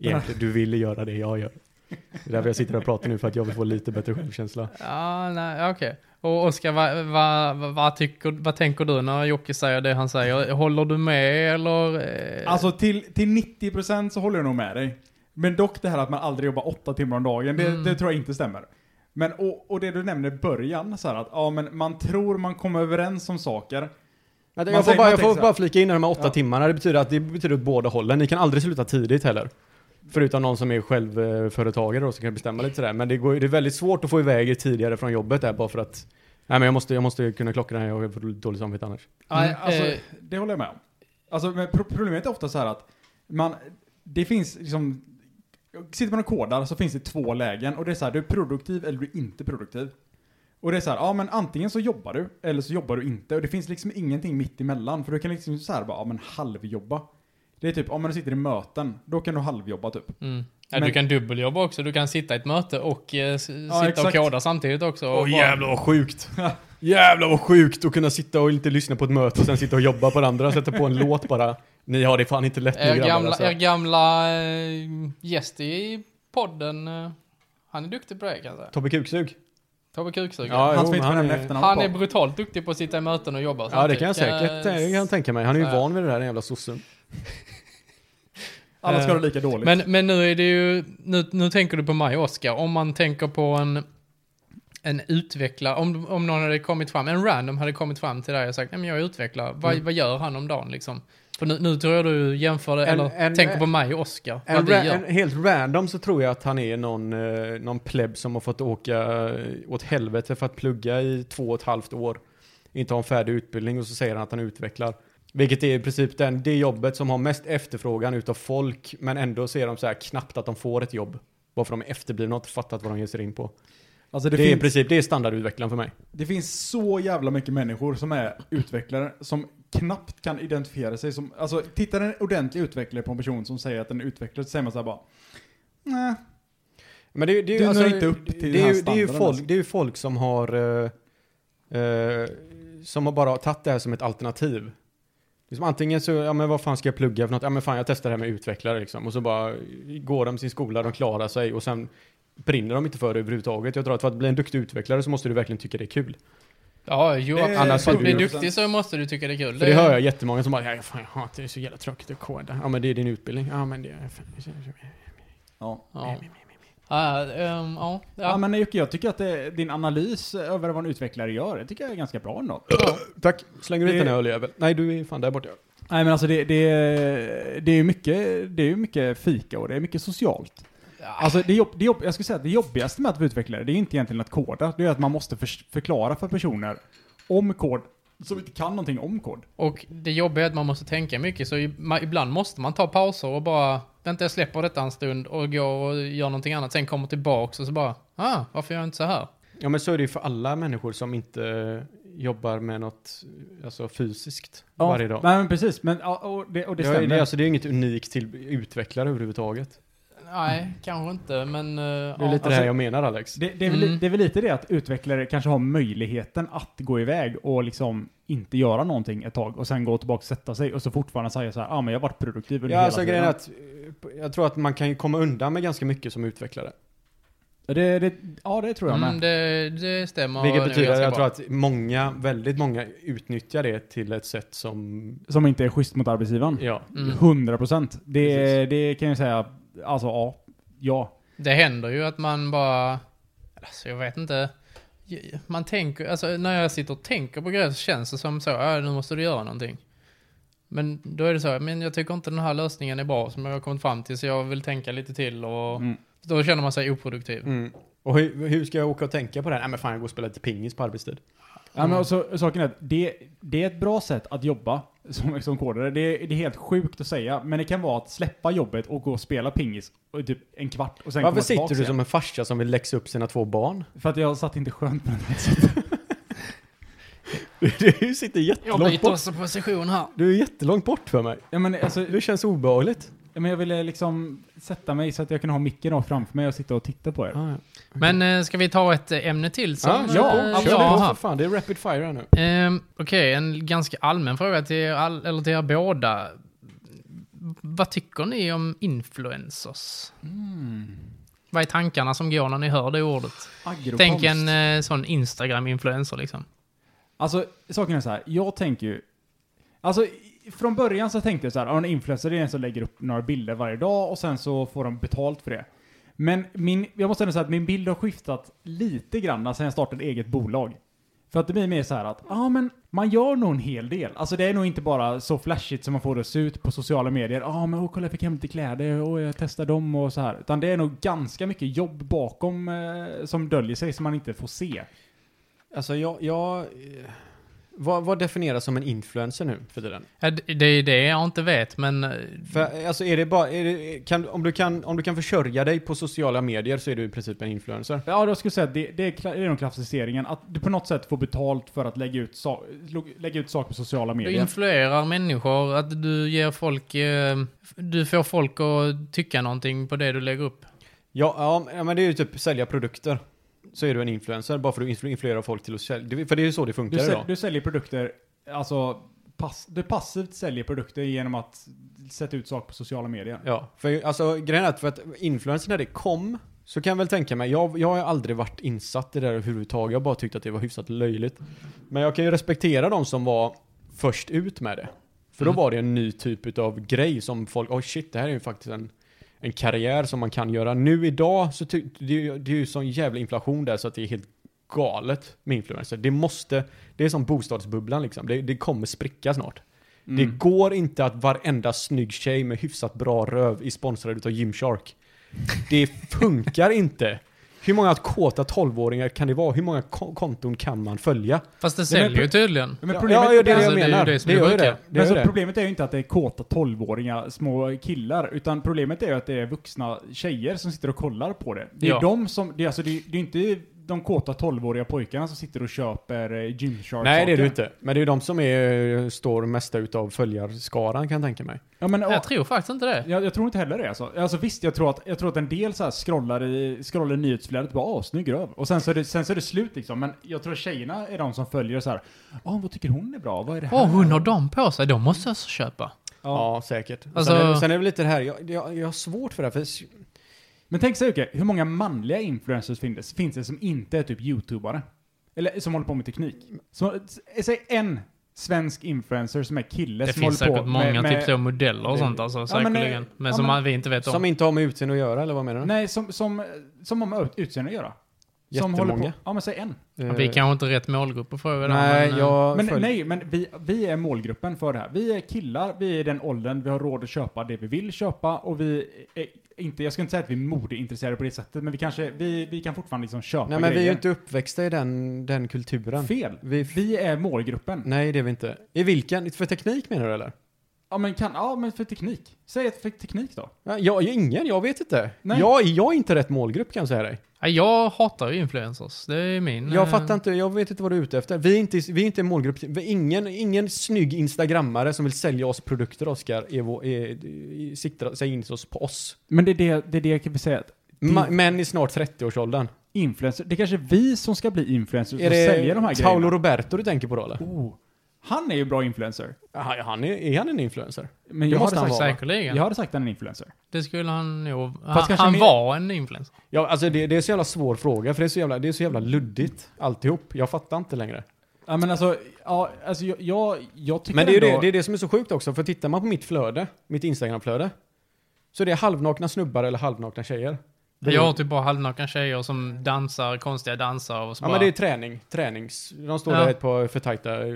Speaker 3: egentligen du vill göra det jag gör. Det är därför jag sitter här och pratar nu för att jag vill få lite bättre självkänsla.
Speaker 4: Ja, nej, ja, okej. Och Oskar, vad, vad, vad, vad, tycker, vad tänker du när Jocke säger det han säger? Håller du med eller? eh,
Speaker 1: Alltså till, till 90% så håller jag nog med dig. Men dock det här att man aldrig jobbar åtta timmar om dagen, det,
Speaker 4: Mm.
Speaker 1: det tror jag inte stämmer. Men och, och det du nämner i början, så här att ja, men man tror man kommer överens om saker.
Speaker 3: Jag
Speaker 1: Man
Speaker 3: får,
Speaker 1: säger-
Speaker 3: bara,
Speaker 1: man
Speaker 3: jag
Speaker 1: tänker så
Speaker 3: får
Speaker 1: här.
Speaker 3: bara flika in de här åtta
Speaker 1: Ja.
Speaker 3: timmarna. Det betyder att det betyder åt båda hållen. Ni kan aldrig sluta tidigt heller. Förutom någon som är självföretagare då som kan bestämma lite sådär. Men det, går, ju- det är väldigt svårt att få iväg er tidigare från jobbet där bara för att Nej men jag måste, jag måste kunna klocka den här, jag får dåligt samvete annars.
Speaker 1: Nej,
Speaker 4: Mm,
Speaker 1: alltså,
Speaker 4: eh.
Speaker 1: det håller jag med om. Alltså, men pro- problemet är ofta så här att man, det finns liksom, sitter man och kodar så finns det två lägen och det är så här, du är produktiv eller du är inte produktiv. Och det är så här, ja men antingen så jobbar du eller så jobbar du inte och det finns liksom ingenting mitt emellan för du kan liksom så här bara, ja men halvjobba. Det är typ, om man sitter i möten, då kan du halvjobba typ.
Speaker 4: Mm. Ja,
Speaker 1: Men-
Speaker 4: Du kan dubbeljobba också, du kan sitta i ett möte och eh, s- sitta
Speaker 1: exakt.
Speaker 4: och koda samtidigt också. Och
Speaker 3: Åh
Speaker 4: bara-
Speaker 3: jävlar vad sjukt! jävlar vad sjukt att kunna sitta och inte lyssna på ett möte och sen sitta och jobba på det andra, sätta på en låt bara. Ni har det fan inte lätt
Speaker 4: Er
Speaker 3: nu grabbar
Speaker 4: gamla,
Speaker 3: alltså.
Speaker 4: er gamla eh, gäst i podden, eh, han är duktig på det kan jag säga.
Speaker 3: Tobbe Kuksug?
Speaker 4: Tobbe Kuksug.
Speaker 3: Ja, jo,
Speaker 1: han som inte
Speaker 3: men
Speaker 1: får nämna
Speaker 3: är-
Speaker 1: efternamn
Speaker 4: Han
Speaker 1: på.
Speaker 4: är brutalt duktig på att sitta i möten och jobba.
Speaker 3: Ja det kan jag
Speaker 4: samtidigt.
Speaker 3: säkert,
Speaker 4: Eh,
Speaker 3: det kan jag tänka mig. Han är ju
Speaker 4: så här.
Speaker 3: van vid det där den jävla sossen.
Speaker 1: Alla ska ha det lika dåligt.
Speaker 4: Men, men nu är det ju, nu, nu tänker du på mig och Oskar, om man tänker på en, en utvecklare, om, om någon hade kommit fram, en random hade kommit fram till dig och sagt, nej men jag är utvecklare, vad,
Speaker 3: Mm.
Speaker 4: vad gör han om dagen liksom? För nu, nu tror jag du jämför det,
Speaker 3: En-
Speaker 4: eller
Speaker 3: en-
Speaker 4: tänker på mig och Oskar, vad
Speaker 3: En,
Speaker 4: vi
Speaker 3: ra-
Speaker 4: gör.
Speaker 3: en helt random så tror jag att han är någon, eh, någon pleb som har fått åka eh, åt helvete för att plugga i två och ett halvt år. Inte har en färdig utbildning och så säger han att han utvecklar. Vilket är i princip den, det jobbet som har mest efterfrågan utav folk men ändå ser de så här knappt att de får ett jobb. Varför de är efterblivna och inte fattat vad de ger sig in på.
Speaker 1: alltså
Speaker 3: Det,
Speaker 1: det,
Speaker 3: är i
Speaker 1: finns,
Speaker 3: princip, det är standardutvecklaren för mig.
Speaker 1: det finns så jävla mycket människor som är utvecklare som knappt kan identifiera sig som, alltså tittar en ordentlig utvecklare på en person som säger att den är utvecklare så säger man såhär bara nej.
Speaker 3: Men det, är- det, är ju- alltså-
Speaker 1: Du når inte upp till den
Speaker 3: det, är
Speaker 1: här
Speaker 3: ju- det, är ju
Speaker 1: standarden,
Speaker 3: folk,
Speaker 1: alltså.
Speaker 3: det är ju folk som har eh, eh, som har bara tagit det här som ett alternativ. Liksom antingen så, ja men vad fan ska jag plugga för något? Ja men fan jag testar det här med utvecklare liksom. Och så bara går de sin skola, de klarar sig och sen brinner de inte för det överhuvudtaget. Jag tror att för att bli en duktig utvecklare så måste du verkligen tycka det är kul.
Speaker 4: Ja, jo,
Speaker 3: Eh,
Speaker 1: Det-
Speaker 4: absolut. för att bli
Speaker 3: det-
Speaker 4: duktig så måste du tycka det är kul.
Speaker 3: För det hör jag jättemånga som bara, ja fan jag hatar det, det är så jävla tråkigt att koda. Ja men det är din utbildning. Ja men det är...
Speaker 1: Ja.
Speaker 4: Ja. Ja, ehm, ja,
Speaker 1: Ja.
Speaker 4: ja.
Speaker 1: men Jocke, jag tycker att det, din analys över vad en utvecklare gör, det tycker jag är ganska bra ändå.
Speaker 3: Tack. Slänger du ut
Speaker 1: Det-
Speaker 3: den här öljäveln? Nej du är fan där borta.
Speaker 1: Nej men alltså det, det, det är ju mycket, det är ju mycket fika och det är mycket socialt. Alltså det, jobb, det jobb, jag skulle säga att det jobbigaste med att vara utvecklare, det är inte egentligen att koda, det är att man måste för, förklara för personer om kod, som inte kan någonting om kod.
Speaker 4: Och det jobbiga är att man måste tänka mycket, så i- ma- ibland måste man ta pauser och bara, vänta jag släpper detta en stund och går och gör någonting annat, sen kommer tillbaks och så bara, Ah, varför gör jag inte så här?
Speaker 3: Ja men så är det ju för alla människor som inte jobbar med något alltså, fysiskt varje dag.
Speaker 1: Nej, men precis. Men, ja, och det, och det
Speaker 3: det, ja,
Speaker 1: stämmer.
Speaker 3: det, alltså, det är ju inget unikt till utvecklare överhuvudtaget.
Speaker 4: Nej, kanske inte, men... eh,
Speaker 3: Det är
Speaker 4: ja.
Speaker 3: lite det här jag menar Alex.
Speaker 1: Det, det, är väl, li-
Speaker 4: Mm.
Speaker 1: det är väl lite det att utvecklare kanske har möjligheten att gå iväg och liksom inte göra någonting ett tag och sen gå tillbaka och sätta sig och så fortfarande säga så här, ja ah, men jag har varit produktiv under
Speaker 3: ja
Speaker 1: hela
Speaker 3: alltså
Speaker 1: tiden.
Speaker 3: grejen är att eh, jag tror att man kan ju komma undan med ganska mycket som utvecklare.
Speaker 1: det, det, ja det tror jag
Speaker 4: Mm,
Speaker 1: med.
Speaker 4: det, det stämmer.
Speaker 3: Vilket
Speaker 4: Det är
Speaker 3: betyder att
Speaker 4: ganska
Speaker 3: jag
Speaker 4: bra.
Speaker 3: tror att många, väldigt många utnyttjar det till ett sätt som,
Speaker 1: Som inte är schysst mot arbetsgivaren.
Speaker 3: ja.
Speaker 4: Mm.
Speaker 1: 100 procent. Det,
Speaker 3: Precis.
Speaker 1: det kan jag säga, alltså ja. Ja.
Speaker 4: Det händer ju att man bara... Alltså jag vet inte. Man tänker, alltså när jag sitter och tänker på grejer så känns det som så, ja nu måste du göra någonting. Men då är det så, men jag tycker inte den här lösningen är bra som jag har kommit fram till så jag vill tänka lite till och
Speaker 1: Mm.
Speaker 4: då känner man sig oproduktiv.
Speaker 3: Mm. Och hur, hur ska jag åka och tänka på det här? Nej men fan jag går och spelar lite pingis på arbetstid.
Speaker 1: Ja,
Speaker 3: Mm.
Speaker 1: men också, saken är att det, det är ett bra sätt att jobba som, som kodare. Det, det är helt sjukt att säga, men det kan vara att släppa jobbet och gå och spela pingis och typ en kvart och sen
Speaker 3: Varför
Speaker 1: komma
Speaker 3: sitter
Speaker 1: tillbaka
Speaker 3: du
Speaker 1: igen.
Speaker 3: som en farsa som vill läxa upp sina två barn?
Speaker 1: För att jag satt inte skönt på den här
Speaker 3: Du sitter
Speaker 4: Jag
Speaker 3: jättelångt
Speaker 4: byter
Speaker 3: bort.
Speaker 4: också position här.
Speaker 3: Du är jättelångt bort för mig.
Speaker 1: Ja men alltså,
Speaker 3: Det känns obehagligt.
Speaker 1: ja, men jag ville liksom sätta mig så att jag kan ha micken rakt framför mig och sitta och titta på er.
Speaker 3: Ah, ja.
Speaker 4: Men eh, ska vi ta ett eh, ämne till? Som,
Speaker 3: Ah,
Speaker 4: eh,
Speaker 3: ja,
Speaker 4: jag
Speaker 3: absolut.
Speaker 4: har
Speaker 3: Ja,
Speaker 4: haft?
Speaker 3: för fan, det är rapid fire här nu.
Speaker 4: Ehm, Okej, en ganska allmän fråga till er, all, eller till er båda. Vad tycker ni om influencers?
Speaker 3: Mm.
Speaker 4: Vad är tankarna som går när ni hör det ordet?
Speaker 1: Agrokonst.
Speaker 4: Tänk en eh, sån Instagram-influencer liksom.
Speaker 1: Alltså, saken är så här. Jag tänker ju... Alltså, i- från början så tänkte jag så här. ja, En influencer det är en som lägger upp några bilder varje dag och sen så får de betalt för det. Men min, jag måste ändå säga att min bild har skiftat lite grann sen jag startade eget bolag. För att det blir mer så här att, ja ah, men man gör nog en hel del. Alltså det är nog inte bara så flashigt som man får det att se ut på sociala medier. Ja ah, men oh, kolla jag fick hem lite kläder och jag testar dem och så här. Utan det är nog ganska mycket jobb bakom eh, som döljer sig som man inte får se.
Speaker 3: Alltså jag, jag eh, vad, vad definieras som en influencer nu för tiden?
Speaker 4: Ja, d- Det är det jag inte vet, men eh,
Speaker 3: För, alltså är det bara, är det, kan, om, du kan, om du kan försörja dig på sociala medier så är du i princip en influencer.
Speaker 1: Ja, jag skulle säga att det, det, är, kla- det är nog klassificeringen. Att du på något sätt får betalt för att lägga ut, sa- lo- lägga ut saker på sociala
Speaker 4: du
Speaker 1: medier.
Speaker 4: influerar människor, att du ger folk, eh, du får folk att tycka någonting på det du lägger upp.
Speaker 3: Ja, ja, ja, men det är ju typ sälja produkter. Så är du en influencer, bara för att du influerar folk till att sälja. Det- För det är ju så det funkar
Speaker 1: Du, säl,
Speaker 3: idag.
Speaker 1: du säljer produkter, alltså pass, du passivt säljer produkter genom att sätta ut saker på sociala medier.
Speaker 3: Ja, för alltså grejen är att, för att influencer när det kom, så kan jag väl tänka mig, jag, jag har aldrig varit insatt i det här överhuvudtaget, jag har bara tyckt att det var hyfsat löjligt. Men jag kan ju respektera de som var först ut med det. För då
Speaker 4: Mm.
Speaker 3: var det en ny typ av grej som folk, oh shit, det här är ju faktiskt en, en karriär som man kan göra. Nu idag så ty, det, är ju- det är ju sån jävla inflation där så att det är helt galet med influencer. Det måste, det är som bostadsbubblan liksom, det, det kommer spricka snart.
Speaker 1: Mm.
Speaker 3: Det går inte att varenda snygg tjej med hyfsat bra röv är sponsrad utav Gymshark. Det funkar inte. Hur många kåta 12-åringar kan det vara? Hur många ko- konton kan man följa?
Speaker 4: Fast det
Speaker 1: men
Speaker 4: säljer ju tydligen.
Speaker 1: Men
Speaker 3: Ja,
Speaker 1: problemet,
Speaker 3: ja, det är det
Speaker 4: Alltså,
Speaker 3: jag
Speaker 4: det är ju
Speaker 3: menar.
Speaker 4: det som
Speaker 3: Det
Speaker 4: är
Speaker 3: gör ju
Speaker 4: sjuka.
Speaker 3: det. Det
Speaker 1: men så
Speaker 3: gör ju det.
Speaker 1: problemet är ju inte att det är kåta 12-åringar, små killar, utan problemet är ju att det är vuxna tjejer som sitter och kollar på det. Det är
Speaker 4: Ja.
Speaker 1: de som, det är, alltså, det är, det är inte de kåta 12-åriga pojkarna som sitter och köper eh, Gymshark-saker.
Speaker 3: Nej, det är det ju inte. Men det är ju de som är, eh, står mesta utav följarskaran kan jag tänka mig.
Speaker 1: Ja, men,
Speaker 4: Jag tror faktiskt inte det.
Speaker 1: Jag, jag tror inte heller det alltså. alltså visst, jag tror att, jag tror att en del så här scrollar i, scrollar i nyhetsflödet och bara åh, snygg röv. Och sen så, är det, sen så är det slut liksom. Men jag tror att tjejerna är de som följer så här. Åh, vad tycker hon är bra? Vad är det här?
Speaker 4: Åh, hon har dem på sig, de måste jag också köpa.
Speaker 1: Ja.
Speaker 3: Ja, säkert. Och
Speaker 4: Alltså-
Speaker 3: Sen, är, sen är det väl lite det här, jag, jag, jag har svårt för det här. För s-
Speaker 1: Men tänk så här, Jocke, hur många manliga influencers finns det, finns det som inte är typ youtubare? Eller som håller på med teknik? Som, säg en svensk influencer som är kille
Speaker 4: Det
Speaker 1: som
Speaker 4: finns
Speaker 1: håller
Speaker 4: säkert
Speaker 1: på
Speaker 4: många
Speaker 1: med, med,
Speaker 4: typ så modeller och
Speaker 3: det-
Speaker 4: sånt alltså,
Speaker 1: men, eh,
Speaker 4: säkerligen. Men,
Speaker 1: ja,
Speaker 4: som
Speaker 1: men-
Speaker 4: man, vi inte vet om.
Speaker 3: som inte har med utseende att göra, eller vad menar du?
Speaker 1: Nej, som, som, som har med utseende att göra. Som
Speaker 3: Jättemånga.
Speaker 1: håller på, ja men säg en.
Speaker 3: Eh,
Speaker 4: vi kanske inte är rätt målgrupp att fråga det,
Speaker 3: Nej,
Speaker 4: men, eh,
Speaker 3: jag
Speaker 1: Men
Speaker 3: följ-
Speaker 1: nej, men vi, vi är målgruppen för det här. Vi är killar, vi är i den åldern, vi har råd att köpa det vi vill köpa och vi är inte, jag ska inte säga att vi är modeintresserade på det sättet, men vi kanske, vi, vi kan fortfarande liksom köpa
Speaker 3: Nej men vi är ju
Speaker 1: grejer.
Speaker 3: inte uppväxta i den, den kulturen.
Speaker 1: Fel.
Speaker 3: Vi,
Speaker 1: Vi är målgruppen.
Speaker 3: nej det är vi inte. I vilken? För teknik menar du eller?
Speaker 1: Ja men kan, ja men för teknik. Säg ett för teknik då.
Speaker 3: Ja, Jag, jag, ingen, jag vet inte.
Speaker 1: Nej.
Speaker 3: Jag, jag är inte rätt målgrupp kan jag säga dig.
Speaker 4: Nej, jag hatar ju influencers. Det är min...
Speaker 3: Jag
Speaker 4: eh,
Speaker 3: fattar inte, jag vet inte vad du är ute efter. Vi är inte, vi är inte en målgrupp. Vi- Ingen, ingen snygg instagrammare som vill sälja oss produkter, Oskar, är vår- är- är- siktar sig in oss på oss.
Speaker 1: Men det är det, det, är det jag kan säga att
Speaker 3: Ma- män i snart 30-årsåldern.
Speaker 1: influencer, det är kanske vi som ska bli influencers
Speaker 3: Är
Speaker 1: och sälja de
Speaker 3: det
Speaker 1: här
Speaker 3: Paolo
Speaker 1: grejerna.
Speaker 3: Roberto du tänker på då eller?
Speaker 1: Oh, han är ju bra influencer.
Speaker 3: Aha, han är, är han en influencer?
Speaker 1: Men
Speaker 3: Det
Speaker 1: jag
Speaker 3: måste
Speaker 1: hade,
Speaker 3: han
Speaker 1: sagt,
Speaker 3: vara.
Speaker 4: Säkerligen.
Speaker 1: jag hade sagt att han är en influencer.
Speaker 4: Det skulle han nog...
Speaker 1: Fast
Speaker 4: Han,
Speaker 1: kanske
Speaker 4: han
Speaker 1: mer-
Speaker 4: var en influencer.
Speaker 3: Ja, alltså det, det är så jävla svår fråga, för det är så jävla, det är så jävla luddigt alltihop. Jag fattar inte längre.
Speaker 1: Ja men alltså, ja, alltså jag, jag, jag tycker
Speaker 3: Men det är ju
Speaker 1: ändå,
Speaker 3: det, det, är det som är så sjukt också, för tittar man på mitt flöde, mitt Instagram-flöde, så det är halvnakna snubbar eller halvnakna tjejer. Det är-
Speaker 4: Jag har typ bara halvnakna tjejer som dansar konstiga danser och så
Speaker 3: Ja
Speaker 4: bara...
Speaker 3: men det är träning, tränings. De står
Speaker 4: Ja.
Speaker 3: där ett par för tajta eh,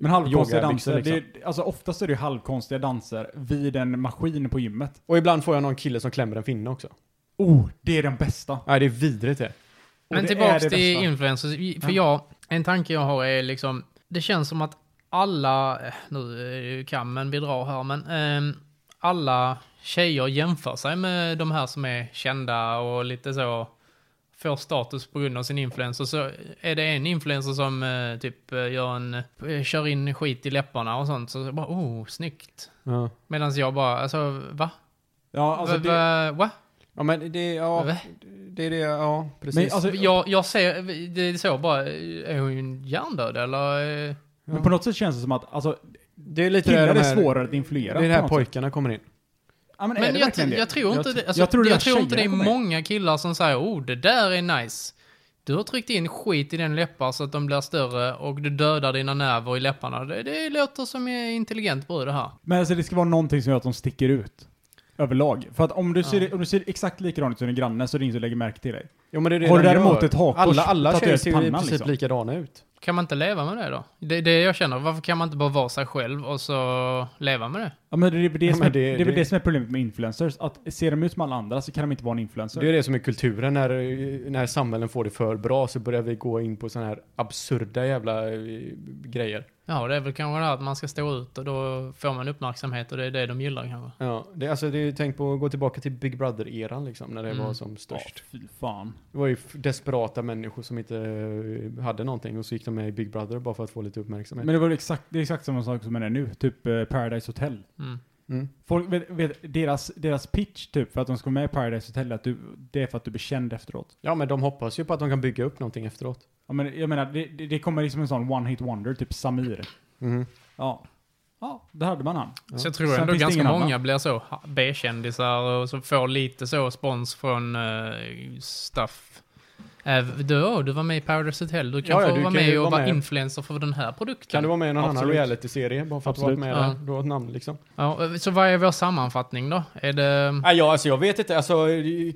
Speaker 1: Men halvkonstiga
Speaker 3: yogabyxor, liksom.
Speaker 1: danser, det är, alltså oftast är det ju halvkonstiga danser vid en maskin på gymmet.
Speaker 3: Och ibland får jag någon kille som klämmer en finne också.
Speaker 1: Oh, det är den bästa.
Speaker 3: Nej det är vidrigt det.
Speaker 1: Och
Speaker 4: Men
Speaker 1: det är
Speaker 4: tillbaks
Speaker 1: det
Speaker 4: till
Speaker 1: bästa.
Speaker 4: influencers. För
Speaker 1: Ja.
Speaker 4: jag, en tanke jag har är liksom, det känns som att alla, eh, nu är det ju kammen vi drar här, men ehm, alla tjejer jämför sig med de här som är kända och lite så får status på grund av sin influencer. Så är det en influencer som eh, typ eh, gör en, eh, kör in skit i läpparna och sånt, så bara oh, snyggt.
Speaker 3: Ja.
Speaker 4: Medan jag bara, alltså va?
Speaker 1: Ja, alltså
Speaker 4: va,
Speaker 1: det,
Speaker 4: va, va?
Speaker 3: Ja men det,
Speaker 4: Va?
Speaker 3: ja, det är det, ja precis.
Speaker 1: Men alltså-
Speaker 4: Jag, jag ser, det är så bara, är hon hjärndöd eller? eh,
Speaker 1: men på något sätt känns det som att, alltså,
Speaker 3: det är lite
Speaker 1: killar
Speaker 3: det, de
Speaker 1: är
Speaker 3: här,
Speaker 1: svårare att influera.
Speaker 3: det är det
Speaker 1: på
Speaker 3: här
Speaker 1: något sätt.
Speaker 3: pojkarna kommer in.
Speaker 1: Ja, men, är
Speaker 4: Men
Speaker 1: det
Speaker 4: jag,
Speaker 1: verkligen det?
Speaker 4: jag tror inte
Speaker 1: jag,
Speaker 4: det.
Speaker 1: tr-
Speaker 4: Alltså,
Speaker 1: jag tror, det är
Speaker 4: inte det är
Speaker 1: tjejerna kommer in.
Speaker 4: många killar som säger oh det där är nice. Du har tryckt in skit i den läppar så att de blir större och du dödar dina nerver i läpparna. Det, det låter som en intelligent brud det här.
Speaker 1: Men alltså det ska vara någonting som gör att de sticker ut. Överlag. För att om du ser, om du ser exakt likadan ut som din granne så är det ingen som lägger märke till dig.
Speaker 3: Ja, men det är det
Speaker 1: Har du
Speaker 3: de
Speaker 1: däremot
Speaker 3: gör.
Speaker 1: ett hakkors
Speaker 3: Alla, alla
Speaker 1: tatuerat
Speaker 3: tjejer
Speaker 1: i
Speaker 3: ser ju i
Speaker 1: pannan,
Speaker 3: princip
Speaker 1: liksom.
Speaker 3: likadana ut.
Speaker 4: Kan man inte leva med det då? Det är det jag känner. Varför kan man inte bara vara sig själv och så leva med det?
Speaker 1: Ja, men det, är väl det,
Speaker 3: Ja,
Speaker 1: som
Speaker 3: men
Speaker 1: är, det,
Speaker 3: det-
Speaker 1: är väl
Speaker 3: det-
Speaker 1: det som är problemet med influencers. Att ser de ut som alla andra så kan de inte vara en influencer.
Speaker 3: Det är det som är kulturen, när, eh, när samhällen får det för bra så börjar vi gå in på sådana här absurda jävla eh, grejer.
Speaker 4: Ja, det är väl kanske det här att man ska stå ut och då får man uppmärksamhet och det är det de gillar kanske.
Speaker 3: Ja, det, alltså det är ju tänk på att gå tillbaka till Big Brother-eran liksom, när det
Speaker 4: Mm.
Speaker 3: var som
Speaker 1: Ja,
Speaker 3: störst.
Speaker 1: fy fan.
Speaker 3: Det var ju f- desperata människor som inte eh, hade någonting och så gick de med i Big Brother bara för att få lite uppmärksamhet.
Speaker 1: Men det var väl exakt, det är exakt samma sak som är det nu. Typ eh, Paradise Hotel.
Speaker 4: Mm.
Speaker 3: Mm.
Speaker 1: Folk, vet, vet, deras, deras pitch typ för att de ska vara med i Paradise Hotel är att du, det är för att du blir känd efteråt.
Speaker 3: Ja, men de hoppas ju på att de kan bygga upp någonting efteråt.
Speaker 1: Ja, men, jag menar, det, det, det kommer liksom en sån one hit wonder, typ Samir. Mm. Ja. Ja, där hade man han.
Speaker 3: Ja.
Speaker 4: Så jag tror
Speaker 1: Sen
Speaker 4: ändå
Speaker 1: finns det
Speaker 4: ganska
Speaker 1: ingen
Speaker 4: många
Speaker 1: annan.
Speaker 4: blir så ha- B-kändisar och så får lite så spons från uh, stuff. Eh, du, åh, du var med i Paradise Hotel, du kan
Speaker 3: Ja, ja,
Speaker 4: få
Speaker 3: du
Speaker 4: vara
Speaker 3: kan ju
Speaker 4: med och
Speaker 3: vara
Speaker 4: vara
Speaker 3: med.
Speaker 4: influencer för den här produkten.
Speaker 3: Kan du vara med i någon annan
Speaker 1: Absolut.
Speaker 3: reality-serie bara för att du varit
Speaker 1: Absolut.
Speaker 3: med
Speaker 4: Ja.
Speaker 3: där? Du har ett namn liksom.
Speaker 4: ja, eh, så vad är vår sammanfattning då? Är det...
Speaker 3: Nej, ja, alltså jag vet inte. Alltså,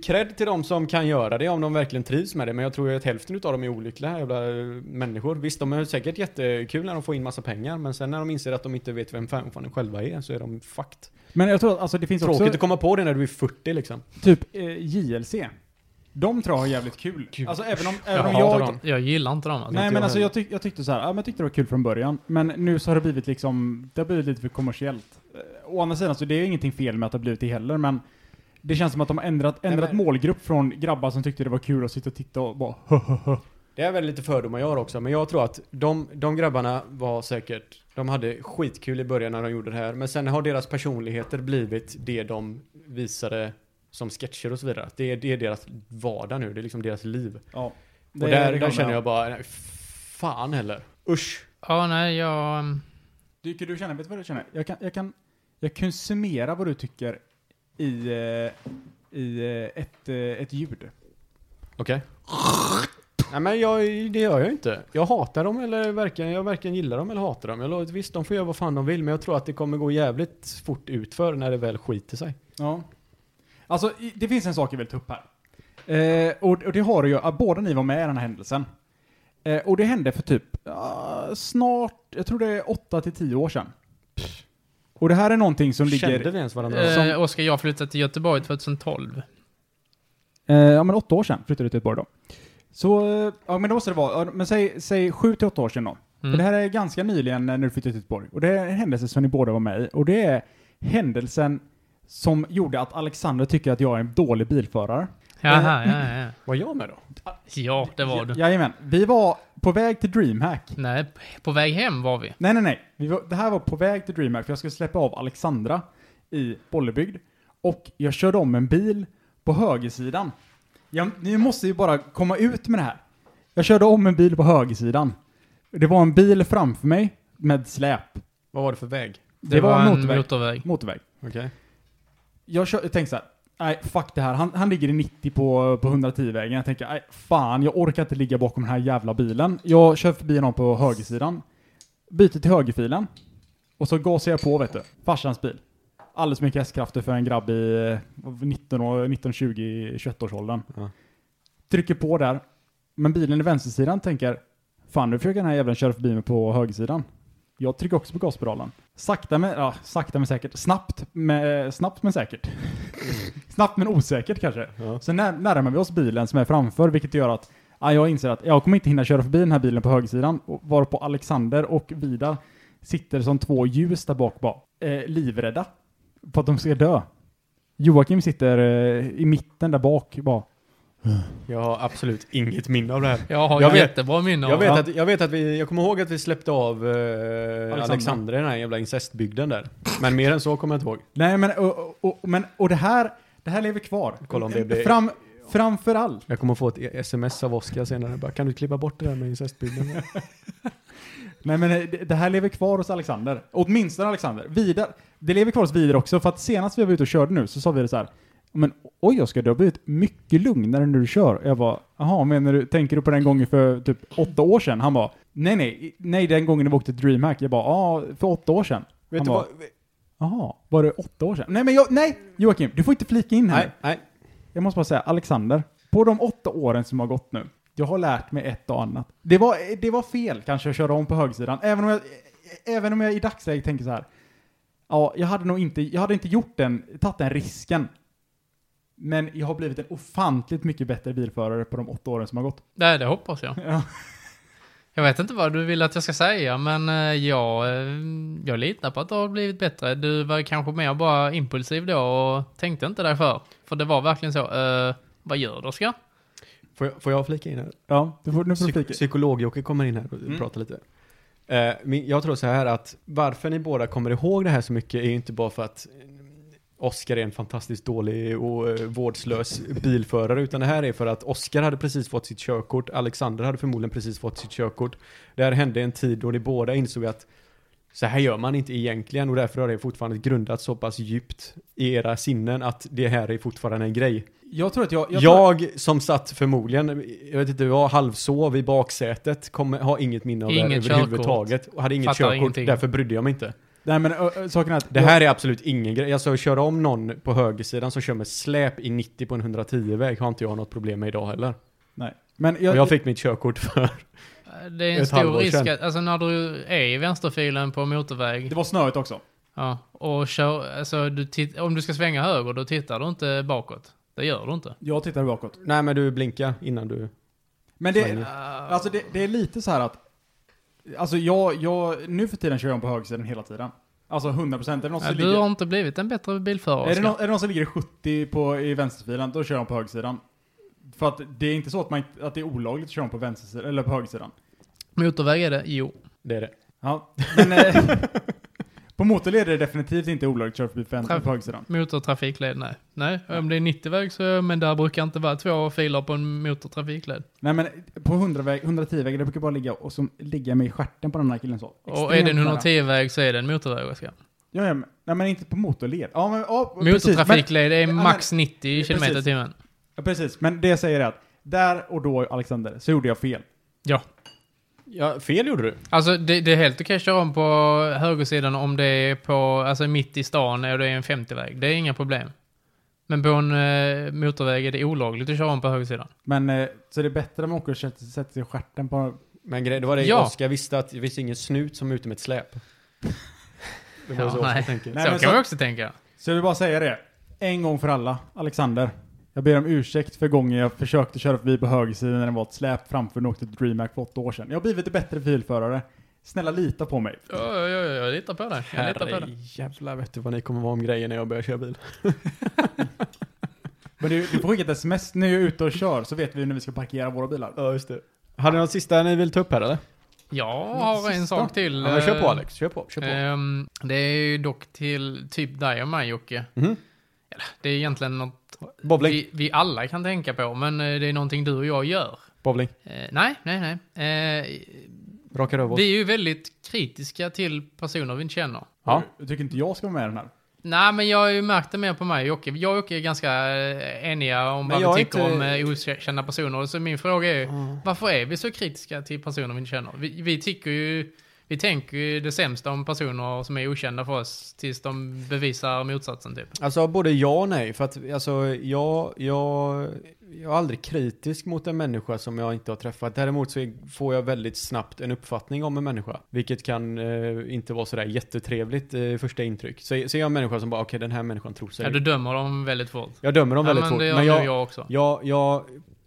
Speaker 3: cred till de som kan göra det om de verkligen trivs med det. Men jag tror ju att hälften av dem är olyckliga jävla eh, människor. Visst, de är säkert jättekul när de får in massa pengar. Men sen när de inser att de inte vet vem fan fan de själva är så är de fucked.
Speaker 1: Men jag tror att alltså, det finns
Speaker 3: Tråkigt
Speaker 1: också
Speaker 3: att komma på det när du är 40 liksom.
Speaker 1: typ eh, JLC. De tror jag har jävligt kul.
Speaker 3: Kul.
Speaker 1: Alltså även om, även om
Speaker 3: hatar
Speaker 1: jag...
Speaker 3: dem.
Speaker 4: Jag gillar inte dem alltså.
Speaker 1: Nej
Speaker 3: jag
Speaker 1: men alltså
Speaker 3: heller.
Speaker 1: jag, tyck, jag tyckte så här, ja, men jag tyckte det var kul från början. Men nu så har det blivit liksom, det har blivit lite för kommersiellt. Eh, Å andra sidan så det är ingenting fel med att det har blivit det heller men det känns som att de har ändrat,
Speaker 3: Nej,
Speaker 1: ändrat
Speaker 3: men-
Speaker 1: målgrupp från grabbar som tyckte det var kul att sitta och titta och bara "Hö, hö, hö."
Speaker 3: Det är väl lite fördomar jag har också, men jag tror att de, de grabbarna var säkert, de hade skitkul i början när de gjorde det här, men sen har deras personligheter blivit det de visade som sketcher och så vidare. Det är, det är deras vardag nu, det är liksom deras liv.
Speaker 1: Ja.
Speaker 3: Och där, där känner jag bara, nej, fan heller. Usch.
Speaker 4: Ja, nej, jag... mm,
Speaker 1: Tycker du känner, vet du vad du känner? Jag kan, jag kan, jag kan summera vad du tycker i, eh, i eh, ett, eh, ett ljud.
Speaker 3: Okej. Nej men jag, det gör jag ju inte. Jag hatar dem eller verkligen, jag verkligen gillar dem eller hatar dem. Jag lovar, visst, de får göra vad fan de vill, men jag tror att det kommer gå jävligt fort utför när det väl skiter sig.
Speaker 1: Ja. Alltså, i- det finns en sak jag vill ta upp här. Eh, och, och det har ju, att båda ni var med i den här händelsen. Eh, och det hände för typ ah, snart, jag tror det är 8 till 10 år sedan. Och det här är någonting som
Speaker 3: Kände
Speaker 1: ligger,
Speaker 3: vi ens varandra?
Speaker 4: Eh,
Speaker 3: Som-
Speaker 4: Oskar, jag flyttade till Göteborg 2012.
Speaker 1: eh, ja men
Speaker 4: Mm.
Speaker 1: 8 år sedan flyttade du till Göteborg då. Så, eh, ja men då måste det vara, ja, men säg, säg 7 till 8 år sedan då. För det här är ganska nyligen eh, när du flyttade till Göteborg. Och det är en händelse som ni båda var med i. Och det är händelsen som gjorde att Alexander tycker att jag är en dålig bilförare.
Speaker 4: Jaha, ja, ja.
Speaker 3: Var jag med då?
Speaker 4: Ja, det var du.
Speaker 1: Jajamän. Vi var på väg till DreamHack.
Speaker 4: Nej, på väg hem var vi.
Speaker 1: Nej, nej, nej. Vi var, det här var på väg till DreamHack för jag skulle släppa av Alexandra i Bollebygd. Och jag körde om en bil på högersidan. Jag, ni måste ju bara komma ut med det här. Jag körde om en bil på högersidan. Det var en bil framför mig med släp.
Speaker 3: Vad var det för väg?
Speaker 4: Det, var, en motorväg.
Speaker 1: Motorväg.
Speaker 3: Okej.
Speaker 1: Jag, kör, jag tänkte så här. Nej, fuck det här. Han, han ligger i 90 på, på 110-vägen. Jag tänker, nej, fan, jag orkar inte ligga bakom den här jävla bilen. Jag kör förbi någon på högersidan. Byter till högerfilen. Och så gasar jag på, vet du. Farsans bil. Alldeles för mycket hästkrafter för en grabb i 19, år- 19 20, 21 års åldern.
Speaker 3: Ja.
Speaker 1: Trycker på där. Men bilen i vänstersidan tänker, fan nu försöker den här jäveln köra förbi mig på högersidan. Jag trycker också på gaspedalen. Sakta men, ja, sakta men säkert. Snabbt, med, snabbt men säkert. Snabbt men osäkert kanske.
Speaker 3: Ja.
Speaker 1: Sen när, närmar vi oss bilen som är framför, vilket gör att ja, jag inser att jag kommer inte hinna köra förbi den här bilen på högersidan, och varpå Alexander och Vida sitter som två ljus där bak, bara, eh, livrädda på att de ska dö. Joakim sitter eh, i mitten där bak, bara.
Speaker 3: Jag har absolut inget minne av det här.
Speaker 4: Jag har
Speaker 3: Jag vet-
Speaker 4: jättebra minne av
Speaker 3: Jag vet,
Speaker 4: det.
Speaker 3: att, jag vet att vi, jag kommer ihåg att vi släppte av eh, Alexander i den här jävla incestbygden där. Men mer än så kommer jag inte ihåg.
Speaker 1: Nej men, och, och, och, men, och det här, det här lever kvar.
Speaker 3: Kolla om det blir-
Speaker 1: Fram, framför allt.
Speaker 3: Jag kommer få ett e- sms av Oskar senare. Bara, kan du klippa bort det där med incestbygden?
Speaker 1: Nej men eh, det- det här lever kvar hos Alexander. Åtminstone Alexander. Vidar, det lever kvar hos Vidar också, för att senast vi var ute och körde nu så sa vi det så här. Men oj Oskar, du har blivit mycket lugnare när du kör. Och Jag var, jaha, menar du, tänker du på den gången för typ åtta år sedan? Han bara, nej nej, nej den gången du åkte till DreamHack. Jag bara, ja, för åtta år sedan.
Speaker 3: Vet
Speaker 1: Han
Speaker 3: du
Speaker 1: bara,
Speaker 3: vad?
Speaker 1: Jaha, var det åtta år sedan? Nej men jag, nej! Joakim, du får inte flika in här.
Speaker 3: Nej, nej.
Speaker 1: Jag måste bara säga, Alexander, på de åtta åren som har gått nu, jag har lärt mig ett och annat. Det var, det var fel kanske att köra om på högsidan, även om jag, även om jag i dagsläget tänker så här. Ja, jag hade nog inte, jag hade inte gjort den, tagit den risken. Men jag har blivit en ofantligt mycket bättre bilförare på de åtta åren som har gått.
Speaker 4: Nej, det hoppas jag.
Speaker 1: Ja.
Speaker 4: Jag vet inte vad du vill att jag ska säga, men eh, jag, eh, jag litar på att du har blivit bättre. Du var kanske mer bara impulsiv då och tänkte inte dig för. För det var verkligen så, eh, vad gör du Oskar?
Speaker 3: Får jag, får jag flika in här?
Speaker 1: Ja, du får, nu får du
Speaker 3: Psyk-
Speaker 1: flika.
Speaker 3: Psykolog-Jocke kommer in här och pratar lite. Eh, men jag tror så här att varför ni båda kommer ihåg det här så mycket är ju inte bara för att Oskar är en fantastiskt dålig och eh, vårdslös bilförare utan det här är för att Oskar hade precis fått sitt körkort, Alexander hade förmodligen precis fått sitt körkort. Det här hände en tid då ni båda insåg att så här gör man inte egentligen och därför har det fortfarande grundats så pass djupt i era sinnen att det här är fortfarande en grej.
Speaker 1: Jag tror att jag...
Speaker 3: Jag,
Speaker 1: tror-
Speaker 3: som satt förmodligen, jag vet inte, jag halvsov i baksätet, kommer, har inget minne av
Speaker 4: Inget
Speaker 3: det
Speaker 4: körkort.
Speaker 3: överhuvudtaget. Och hade inget
Speaker 4: Fattar
Speaker 3: körkort,
Speaker 4: ingenting.
Speaker 3: därför brydde jag mig inte.
Speaker 1: nej men ö, ö, saken är att...
Speaker 3: Det här är absolut ingen grej. Alltså att köra om någon på högersidan som kör med släp i 90 på en 110-väg har inte jag något problem med idag heller.
Speaker 1: Nej. Men
Speaker 3: Och
Speaker 1: jag,
Speaker 3: jag fick mitt körkort för...
Speaker 4: Eh, Det är en
Speaker 3: Ett
Speaker 4: stor
Speaker 3: halvår
Speaker 4: risk,
Speaker 3: sedan.
Speaker 4: att, alltså när du är i vänsterfilen på motorväg
Speaker 1: det var snöigt också.
Speaker 4: ja, och kör, alltså du titt, om du ska svänga höger då tittar du inte bakåt. Det gör du inte.
Speaker 1: Jag tittar bakåt.
Speaker 3: Nej men du blinkar innan du...
Speaker 1: Men
Speaker 3: Svänger.
Speaker 1: det, Alltså det, det är lite så här att, alltså jag, jag, nu för tiden kör jag om på högersidan hela tiden. Alltså 100 procent. Är, det någon
Speaker 4: Ja,
Speaker 1: som
Speaker 4: du har
Speaker 1: ligger-
Speaker 4: inte blivit en bättre bilförare
Speaker 1: är, det
Speaker 4: Oskar.
Speaker 1: någon- är det någon som ligger i 70 på, i vänsterfilen, då kör jag om på högersidan. För att det är inte så att, man, inte- att det är olagligt att köra om på vänstersidan, eller på högersidan.
Speaker 4: Motorväg är det, jo.
Speaker 3: Det är det.
Speaker 1: Ja, men eh, på motorled är det definitivt inte olagligt att köra förbi på, vän-
Speaker 4: Traf-
Speaker 1: på högersidan.
Speaker 4: Motortrafikled, nej. Nej, om det är 90-väg så, men där brukar inte vara två filer på en motortrafikled.
Speaker 1: Nej men på 100-väg, 110-vägen, det brukar bara ligga och som ligga mig i stjärten på den här killen så.
Speaker 4: och är det en
Speaker 1: Extremt nära.
Speaker 4: 110-väg så är det en motorväg, Oskar.
Speaker 1: Ja, ja, men, nej men inte på motorled. Ja men, ja, precis, men-
Speaker 4: Motortrafikled är
Speaker 1: men-
Speaker 4: max 90
Speaker 1: precis.
Speaker 4: km i timmen.
Speaker 1: Ja, precis, men det jag säger är att där och då, Alexander, så gjorde jag fel.
Speaker 4: Ja.
Speaker 3: Ja, fel gjorde du.
Speaker 4: Alltså det, det är helt okej att köra om på högersidan om det är på, alltså mitt i stan och det är en 50-väg. Det är inga problem. Men på en eh, motorväg är det olagligt att köra om på högersidan.
Speaker 1: Men, eh, så det är bättre om man åker och sätter, sätter sig i stjärten på...
Speaker 3: Men grejen, det var det
Speaker 4: Ja.
Speaker 3: Oskar visste att det finns ingen snut som är ute med ett släp. Det var
Speaker 4: Ja,
Speaker 3: så Oskar
Speaker 4: nej.
Speaker 3: tänker.
Speaker 1: Nej,
Speaker 4: så
Speaker 1: men
Speaker 4: kan
Speaker 1: så-
Speaker 4: man också tänka.
Speaker 1: Så jag vill bara säga det, en gång för alla, Alexander. Jag ber om ursäkt för gången jag försökte köra förbi på högersidan när det var ett släp framför när jag åkte till DreamHack för åtta år sedan. Jag har blivit en bättre bilförare. Snälla lita på mig.
Speaker 4: Ja, ja, ja, ja, jag litar på dig. Jag litar på dig.
Speaker 3: Herrejävlar vet du vad ni kommer vara om grejer när jag börjar köra bil.
Speaker 1: Men du, du får skicka ett sms när jag är ute och kör så vet vi när vi ska parkera våra bilar.
Speaker 3: Ja, just det. Har ni något sista ni vill ta upp här
Speaker 4: Eh,
Speaker 3: eller?
Speaker 4: Jag har en
Speaker 3: Sista.
Speaker 4: sak till.
Speaker 3: Ja, men kör på
Speaker 4: eh,
Speaker 3: Alex, kör på. Kör på.
Speaker 4: ehm, det är ju dock till typ dig och mig Jocke.
Speaker 3: Mhm.
Speaker 4: Eller, Det är egentligen något
Speaker 3: Bowling,
Speaker 4: vi, vi alla kan tänka på, men eh, det är någonting du och jag gör.
Speaker 3: bowling.
Speaker 4: Eh, nej, nej, nej. Eh,
Speaker 3: Raka rövhål.
Speaker 4: vi är ju väldigt kritiska till personer vi inte känner.
Speaker 3: Ja.
Speaker 1: Jag tycker inte jag ska vara med i den här.
Speaker 4: Nej, men jag har ju märkt det mer på mig och Jocke. Jag och Jocke är ganska eh, eniga om
Speaker 3: Men
Speaker 4: vad
Speaker 3: jag
Speaker 4: vi
Speaker 3: är
Speaker 4: tycker om
Speaker 3: inte-
Speaker 4: eh, okända personer. Så min fråga är ju, varför är vi så kritiska till personer vi inte känner? Vi, vi tycker ju, vi tänker ju det sämsta om personer som är okända för oss tills de bevisar motsatsen typ.
Speaker 3: Alltså både ja och nej. För att alltså, jag, jag, jag är aldrig kritisk mot en människa som jag inte har träffat. Däremot så är- får jag väldigt snabbt en uppfattning om en människa. Vilket kan eh, inte vara sådär jättetrevligt eh, första intryck. Så, så är jag en människa som bara, okej den här människan tror sig.
Speaker 4: Ja, du dömer dem väldigt fort.
Speaker 3: Jag dömer dem typ. väldigt
Speaker 4: ja, men
Speaker 3: fort.
Speaker 4: det gör
Speaker 3: Men
Speaker 4: jag,
Speaker 3: jag,
Speaker 4: jag också.
Speaker 3: jag, jag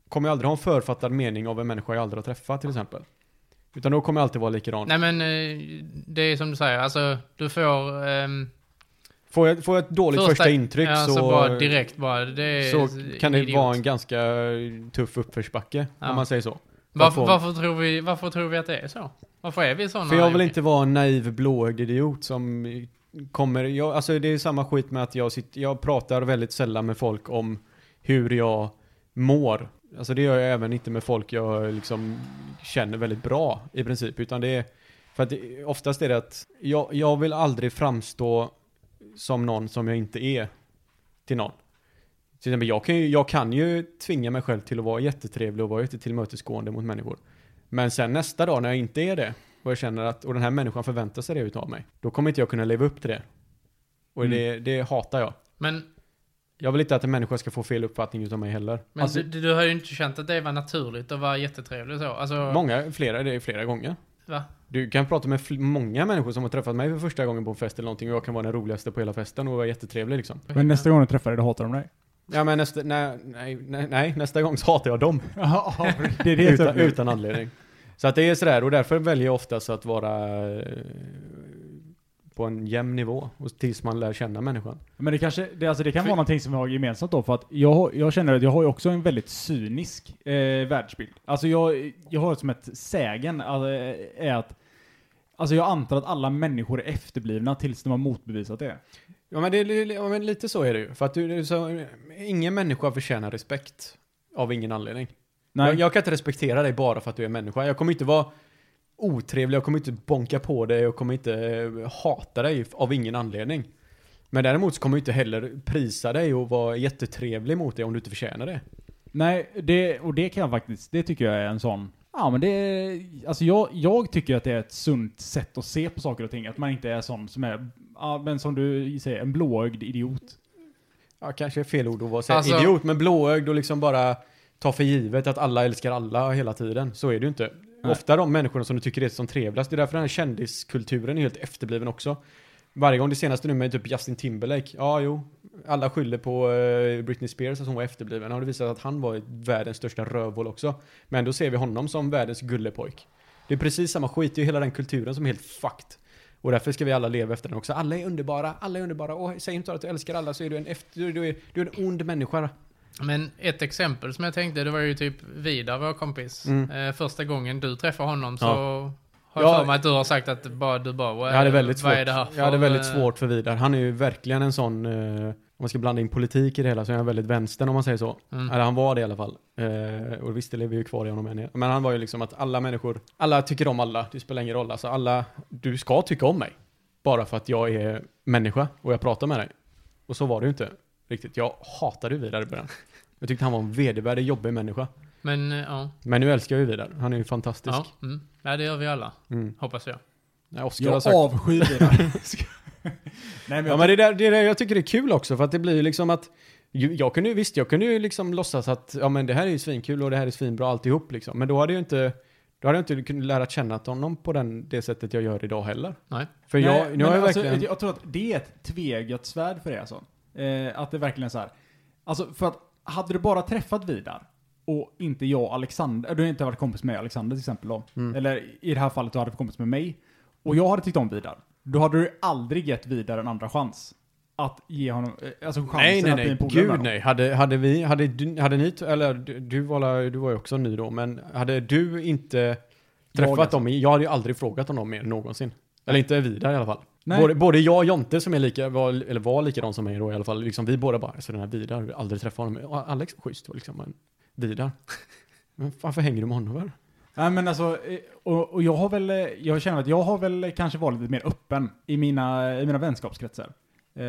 Speaker 3: kommer ju aldrig ha en författad mening av en människa jag aldrig har träffat till exempel. Utan då kommer jag alltid vara likadan.
Speaker 4: Nej men eh, det är som du säger, alltså du får... ehm,
Speaker 3: Får jag, får jag ett dåligt första, intryck
Speaker 4: ja,
Speaker 3: så,
Speaker 4: så bara direkt bara, det är
Speaker 3: så kan det
Speaker 4: idiot.
Speaker 3: vara en ganska tuff uppförsbacke
Speaker 4: Ja.
Speaker 3: om man säger så.
Speaker 4: Varför,
Speaker 3: Varför-
Speaker 4: varför, tror vi, varför tror vi att det är så? Varför är vi sådana?
Speaker 3: För jag vill inte vara en naiv blåögd idiot som kommer, jag, alltså det är samma skit med att jag, sitter, jag pratar väldigt sällan med folk om hur jag mår. Alltså det gör jag även inte med folk jag liksom känner väldigt bra i princip, utan det är, för att det, oftast är det att jag, jag vill aldrig framstå som någon som jag inte är till någon. Till exempel, jag kan ju, jag kan ju tvinga mig själv till att vara jättetrevlig och vara jättetillmötesgående mot människor. Men sen nästa dag när jag inte är det och jag känner att och den här människan förväntar sig det utav mig. Då kommer inte jag kunna leva upp till det. Och det, det hatar jag.
Speaker 4: Men,
Speaker 3: Jag vill inte att en människa ska få fel uppfattning utav mig heller.
Speaker 4: men
Speaker 1: Alltså-
Speaker 4: du, du har ju inte känt att det var naturligt att vara jättetrevlig och så. Alltså,
Speaker 3: Många, flera, det är flera gånger.
Speaker 4: va?
Speaker 3: Du kan prata med fl- många människor som har träffat mig för första gången på en fest eller någonting och jag kan vara den roligaste på hela festen och vara jättetrevlig liksom.
Speaker 1: Men nästa gång du träffar dig, då hatar de dig.
Speaker 3: Ja men nästa, nej, nej, nej, nej, nästa gång så hatar jag dem.
Speaker 1: Ja, det är det jag
Speaker 3: utan,
Speaker 1: tror.
Speaker 3: utan anledning. Så att det är sådär och därför väljer jag oftast att vara eh, på en jämn nivå och tills man lär känna människan.
Speaker 1: Men det kanske, det, alltså det kan
Speaker 4: För-
Speaker 1: vara någonting som vi har gemensamt då, för att jag, har- jag känner att jag har ju också en väldigt cynisk eh, världsbild. Alltså jag, jag har som ett sägen, alltså, eh, är att, alltså jag antar att alla människor är efterblivna tills de har motbevisat det.
Speaker 3: Ja men, det, är li- ja men lite så är det ju. För att du, du så, ingen människa förtjänar respekt av ingen anledning.
Speaker 1: Nej,
Speaker 3: Jag, jag kan inte respektera dig bara för att du är en människa. Jag kommer inte vara otrevlig, jag kommer inte bonka på dig, jag kommer inte eh, hata dig f- av ingen anledning. Men däremot så kommer jag inte heller prisa dig och vara jättetrevlig mot dig om du inte förtjänar det.
Speaker 1: nej det, och det kan jag faktiskt, det tycker jag är en sån, ja men det, alltså jag, jag tycker att det är ett sunt sätt att se på saker och ting, att man inte är sån som är, ja men som du säger, en blåögd idiot.
Speaker 3: Ja, kanske är fel ord att vara så här
Speaker 4: Alltså-
Speaker 3: idiot, men blåögd och liksom bara ta för givet att alla älskar alla hela tiden. Så är det ju inte.
Speaker 1: Nej.
Speaker 3: Ofta de människorna som du tycker är som trevligast, det är därför den här kändiskulturen är helt efterbliven också. Varje gång det senaste nu med typ Justin Timberlake, ja jo, alla skyller på eh, Britney Spears att hon var efterbliven. Har det visat att han var världens största rövhål också. Men då ser vi honom som världens gullepojk. Det är precis samma skit, det är hela den kulturen som är helt fucked. Och därför ska vi alla leva efter den också. Alla är underbara, alla är underbara. Och säg inte att du älskar alla så är du en, efter, du, du är, du är en ond människa.
Speaker 4: Men ett exempel som jag tänkte, det var ju typ Vidar, vår kompis.
Speaker 3: Mm.
Speaker 4: Eh, första gången du träffar honom så
Speaker 3: Ja.
Speaker 4: har jag
Speaker 3: Ja.
Speaker 4: för mig att du har sagt att bara, du bara,
Speaker 3: Jag
Speaker 4: vad,
Speaker 3: hade väldigt svårt,
Speaker 4: vad är det här för,
Speaker 3: jag hade väldigt
Speaker 4: eh,
Speaker 3: svårt för Vidar. Han är ju verkligen en sån, eh, om man ska blanda in politik i det hela, så är han väldigt vänstern om man säger så.
Speaker 4: Mm.
Speaker 3: Eller han var det i alla fall. Eh, och visst, det lever ju kvar i honom än. Men han var ju liksom att alla människor, alla tycker om alla. Det spelar ingen roll. Alltså alla, du ska tycka om mig. Bara för att jag är människa och jag pratar med dig. Och så var det ju inte riktigt. Jag hatade ju Vidar i början. Jag tyckte han var en vedervärdig, jobbig människa.
Speaker 4: Men, eh, ja.
Speaker 3: Men nu älskar jag ju Vidar. Han är ju fantastisk.
Speaker 4: Ja, mm. ja, det gör vi alla.
Speaker 3: Mm.
Speaker 4: Hoppas jag.
Speaker 3: Nej, Oscar har
Speaker 1: Jag
Speaker 3: sagt
Speaker 1: avskyr det där. Nej men
Speaker 3: Ja
Speaker 1: jag
Speaker 3: men det är där, det är där jag tycker det är kul också för att det blir ju liksom att ju- jag kunde ju, visst jag kunde ju liksom låtsas att ja men det här är ju svinkul och det här är svinbra alltihop liksom. Men då hade jag inte, då hade jag inte kunnat lära känna honom på den, det sättet jag gör idag heller.
Speaker 4: Nej.
Speaker 3: För
Speaker 1: Nej,
Speaker 3: jag,
Speaker 1: men
Speaker 3: nu har jag
Speaker 1: alltså,
Speaker 3: verkligen,
Speaker 1: jag tror att det är ett tveeggat svärd för det alltså. Eh, att det verkligen är så här. Alltså för att, hade du bara träffat Vidar och inte jag och Alexander, du har inte varit kompis med Alexander till exempel då. Eller i det här fallet du hade varit kompis med mig. Och jag hade tyckt om Vidar. Då hade du aldrig gett Vidar en andra chans. Att ge honom, eh, alltså chansen
Speaker 3: Nej, nej,
Speaker 1: att bli en
Speaker 3: nej.
Speaker 1: polare med
Speaker 3: Gud
Speaker 1: honom.
Speaker 3: nej. Hade, hade vi, hade, du- hade ni, t- eller du, du, var, la- du var ju också ny då, men hade du inte träffat
Speaker 1: alltså.
Speaker 3: dem, i- jag hade ju aldrig frågat om dem mer någonsin. Eller inte Vidar i alla fall.
Speaker 1: Nej.
Speaker 3: Både, både jag och Jonte som är lika, var, eller var likadan som mig då i alla fall, liksom vi båda bara, alltså den här Vidar, vi har aldrig träffat honom. Och Alex, schysst, var liksom en Vidar. Men varför hänger du med honom? Här?
Speaker 1: Nej men alltså, eh, och, och jag har väl, eh, jag känner att jag har väl kanske varit lite mer öppen i mina, i mina vänskapskretsar. Eh,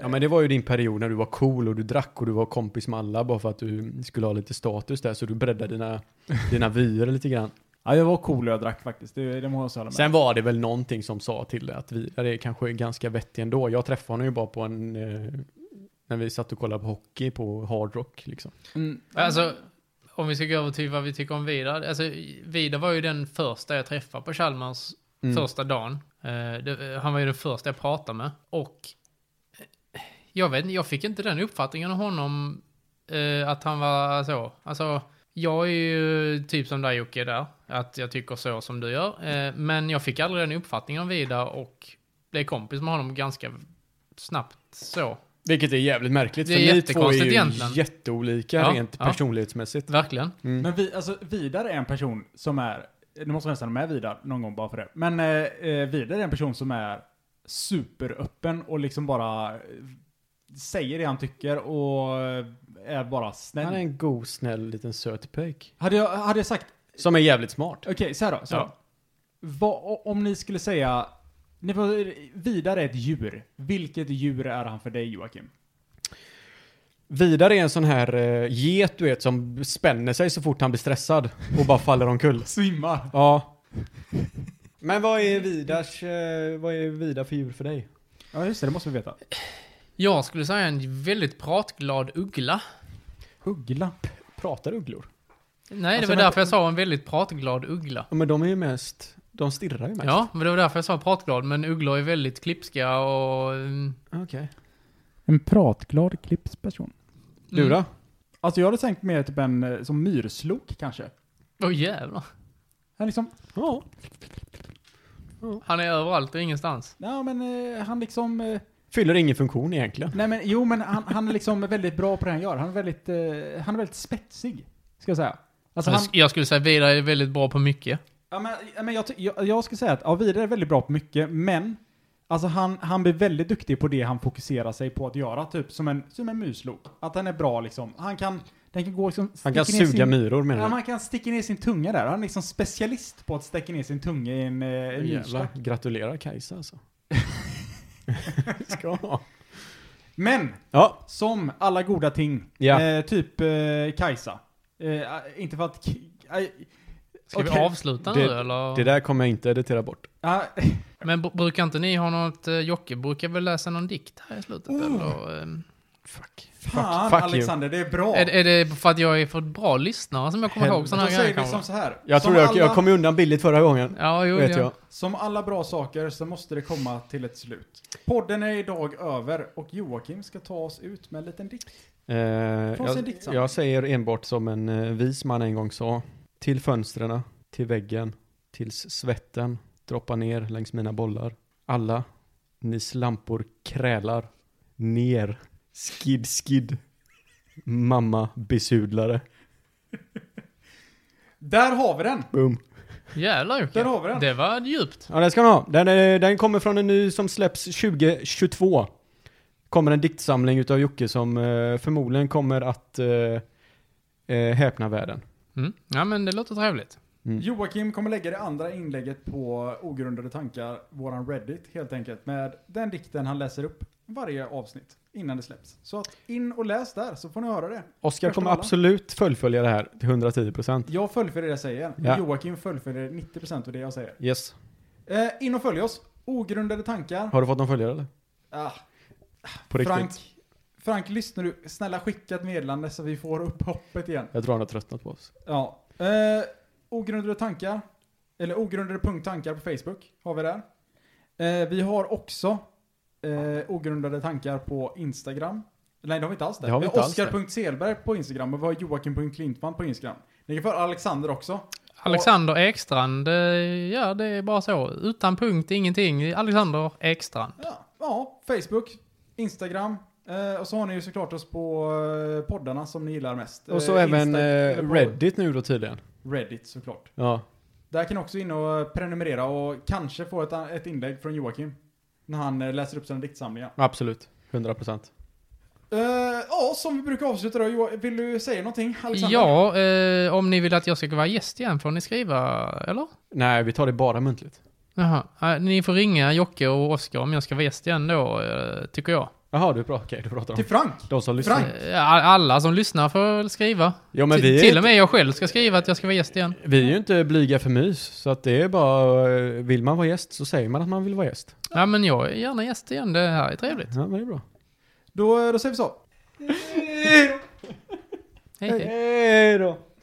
Speaker 3: Ja men det var ju din period när du var cool och du drack och du var kompis med alla bara för att du skulle ha lite status där så du breddade dina, dina vyer lite grann.
Speaker 1: ja, jag var cool och jag drack faktiskt, det, det må jag säga.
Speaker 3: Sen var det väl någonting som sa till dig att Vidar är kanske ganska vettig ändå. Jag träffade honom ju bara på en... Eh, när vi satt och kollade på hockey på Hard Rock liksom.
Speaker 1: Mm,
Speaker 4: Alltså, om vi ska gå över till vad vi tycker om Vidar. Alltså, Vidar var ju den första jag träffade på Chalmers
Speaker 3: Mm.
Speaker 4: första dagen. Eh, det, han var ju den första jag pratade med. Och eh, jag vet inte, jag fick inte den uppfattningen av honom eh, att han var så. Alltså, jag är ju typ som dig Jocke där, att jag tycker så som du gör. Eh, men jag fick aldrig den uppfattningen av Vidar och blev kompis med honom ganska snabbt så.
Speaker 3: Vilket är jävligt märkligt
Speaker 4: Det
Speaker 3: för
Speaker 4: är
Speaker 3: ni två är ju
Speaker 4: jättekonstigt egentligen.
Speaker 3: jätteolika
Speaker 4: Ja,
Speaker 3: rent
Speaker 4: ja.
Speaker 3: personlighetsmässigt.
Speaker 4: Verkligen.
Speaker 1: Men vi, alltså, Vidar är en person som är, nu måste jag nästan ha med Vidar någon gång bara för det. Men eh, eh, Vidar är en person som är superöppen och liksom bara eh, säger det han tycker och eh, är bara snäll.
Speaker 3: Han är en god, snäll, liten söt pöjk.
Speaker 1: Hade, jag, hade jag sagt,
Speaker 3: Som är jävligt smart.
Speaker 1: okej så här då. Så här.
Speaker 4: Ja.
Speaker 1: Vad- o- om ni skulle säga, ni får, Vidar är ett djur. Vilket djur är han för dig Joakim?
Speaker 3: Vidar är en sån här eh, get du vet som spänner sig så fort han blir stressad och bara faller omkull.
Speaker 1: Svimmar.
Speaker 3: Ja. Men vad är Vidars, eh, vad är Vidar för djur för dig?
Speaker 1: Ja just det, det måste vi veta.
Speaker 4: Jag skulle säga en väldigt pratglad uggla.
Speaker 1: Uggla.
Speaker 3: Pratar ugglor?
Speaker 4: Nej,
Speaker 3: Alltså,
Speaker 4: det var
Speaker 3: vänta.
Speaker 4: därför jag sa en väldigt pratglad uggla.
Speaker 3: Ja, men de är ju mest, de stirrar ju mest.
Speaker 4: Ja, men det var därför jag sa pratglad. Men ugglor är väldigt klipska och... mm,
Speaker 3: Okej.
Speaker 1: En pratglad klippsperson.
Speaker 3: Du då?
Speaker 1: Alltså jag hade tänkt mer typ en eh, som myrslok kanske.
Speaker 4: Åh jävlar.
Speaker 1: Han liksom,
Speaker 3: Ja.
Speaker 4: Han är överallt och ingenstans.
Speaker 1: ja men eh, han liksom, eh,
Speaker 3: Fyller ingen funktion egentligen.
Speaker 1: nej men jo men han, han är liksom väldigt bra på det han gör. Han är väldigt, eh, han är väldigt spetsig, ska jag säga. Alltså han,
Speaker 4: Jag skulle säga Vidar är väldigt bra på mycket.
Speaker 1: ja men, ja, men jag, ty- jag, jag ska säga att, ja Vidar är väldigt bra på mycket, men Alltså han, han blir väldigt duktig på det han fokuserar sig på att göra, typ som en, som en muslok. Att han är bra liksom, han kan, den kan gå liksom,
Speaker 3: Han kan
Speaker 1: sticker ner
Speaker 3: suga
Speaker 1: sin-
Speaker 3: myror
Speaker 1: Ja,
Speaker 3: menar du?
Speaker 1: man kan sticka ner sin tunga där. Han är liksom specialist på att sticka ner sin tunga i en, eh, en myrstack.
Speaker 3: Jävlar, gratulerar Kajsa alltså. Ska ha.
Speaker 1: Men
Speaker 3: Ja,
Speaker 1: Som alla goda ting.
Speaker 3: Ja.
Speaker 1: Eh, typ eh, Kajsa. Eh, inte för att... K- eh, aj,
Speaker 4: Ska vi
Speaker 1: Okej.
Speaker 4: avsluta nu
Speaker 3: Det-
Speaker 4: eller?
Speaker 3: det där kommer jag inte editera bort.
Speaker 1: ah,
Speaker 4: Men b- brukar inte ni ha något... eh, Jocke brukar väl läsa någon dikt här i slutet
Speaker 1: Oh.
Speaker 4: eller? ehm,
Speaker 3: Fuck.
Speaker 1: fan
Speaker 3: fuck you.
Speaker 1: Alexander, det är bra.
Speaker 4: Är, är det för att jag är för bra lyssnare som jag kommer ihåg
Speaker 3: Helvete.
Speaker 1: Då
Speaker 4: sådana här
Speaker 1: säger
Speaker 4: grejer
Speaker 1: vi som
Speaker 4: kanske?
Speaker 1: så här.
Speaker 3: Jag
Speaker 1: som,
Speaker 3: tror jag,
Speaker 1: alla,
Speaker 3: jag kom undan billigt förra gången.
Speaker 4: Ja, jo,
Speaker 3: vet
Speaker 4: ja.
Speaker 3: jag.
Speaker 1: som alla bra saker så måste det komma till ett slut. Podden är idag över och Joakim ska ta oss ut med en liten dikt.
Speaker 3: Eh,
Speaker 1: Från sin
Speaker 3: jag,
Speaker 1: diktsamling.
Speaker 3: jag säger enbart som en eh, vis man en gång sa. Till fönstren, till väggen, tills svetten droppar ner längs mina bollar. Alla, ni slampor krälar. Ner, skid skid. Mamma besudlare.
Speaker 1: Där har vi den!
Speaker 3: Boom.
Speaker 4: Jävlar Jocke.
Speaker 1: Där har vi den.
Speaker 4: Det var djupt.
Speaker 3: Ja, den ska ni ha. Den, är, den kommer från en ny som släpps 2022. Kommer en diktsamling utav Jocke som eh, förmodligen kommer att eh, eh, häpna världen.
Speaker 4: Mm. Ja, men det låter trevligt.
Speaker 3: Mm.
Speaker 1: Joakim kommer lägga det andra inlägget på Ogrundade tankar, våran Reddit helt enkelt, med den dikten han läser upp varje avsnitt innan det släpps. Så att in och läs där så får ni höra det.
Speaker 3: Oskar
Speaker 1: Första
Speaker 3: kommer
Speaker 1: vallan.
Speaker 3: absolut fullfölja det här till 110%.
Speaker 1: Jag fullföljer det jag säger.
Speaker 3: Ja.
Speaker 1: Joakim fullföljer 90% av det jag säger.
Speaker 3: Yes.
Speaker 1: Eh, in och följ oss. Ogrundade tankar.
Speaker 3: Har du fått någon följare eller?
Speaker 1: Ah,
Speaker 3: På riktigt?
Speaker 1: Frank, Frank, lyssnar du? Snälla skicka ett meddelande så vi får upp hoppet igen.
Speaker 3: Jag tror han har tröttnat på oss.
Speaker 1: Ja. Eh, ogrundade tankar. Eller ogrundade punkttankar på Facebook har vi där. Eh, vi har också eh, ogrundade tankar på Instagram. Nej, de är inte alls
Speaker 3: Det
Speaker 1: där.
Speaker 3: har vi
Speaker 1: Vi
Speaker 3: inte alls
Speaker 1: Oskar.selberg på Instagram och vi har Joakim.Klintvall på Instagram. Ni kan få Alexander också.
Speaker 4: Alexander Ekstrand, eh, ja det är bara så. Utan punkt, ingenting. Alexander Ekstrand.
Speaker 1: Ja, ja Facebook, Instagram. Eh, och så har ni ju såklart oss på eh, poddarna som ni gillar mest.
Speaker 3: Och så
Speaker 1: Eh,
Speaker 3: även
Speaker 1: Insta-
Speaker 3: eh,
Speaker 1: eller på
Speaker 3: Reddit nu då tydligen.
Speaker 1: Reddit såklart.
Speaker 3: Ja.
Speaker 1: Där kan ni också in och eh, prenumerera och kanske få ett, ett inlägg från Joakim. När han eh, läser upp sina diktsamlingar.
Speaker 3: Absolut. 100 procent.
Speaker 1: Eh, Ja, som vi brukar avsluta då. Jo, vill du säga någonting Alexander?
Speaker 4: Ja, eh, om ni vill att jag ska vara gäst igen får ni skriva, eller?
Speaker 3: Nej, vi tar det bara muntligt.
Speaker 4: Jaha, eh, ni får ringa Jocke och Oskar om jag ska vara gäst igen då, eh, tycker jag.
Speaker 3: Jaha, du pratar, okej, du pratar om
Speaker 1: Till Frank.
Speaker 3: de som lyssnar.
Speaker 1: Typ Frank.
Speaker 4: Eh, all- Alla som lyssnar får väl skriva.
Speaker 3: Ja, men
Speaker 4: Ti-
Speaker 3: vi är,
Speaker 4: Till och
Speaker 3: inte,
Speaker 4: med jag själv ska skriva att jag ska vara gäst igen.
Speaker 3: vi är ju inte blyga för mys, så att det är bara, eh, vill man vara gäst så säger man att man vill vara gäst.
Speaker 4: Ja, men jag är gärna gäst igen. Det här är trevligt.
Speaker 3: Ja, men det är bra.
Speaker 1: eh, Då, då säger vi så.
Speaker 4: Hej, hej.
Speaker 3: Eh, Hej då!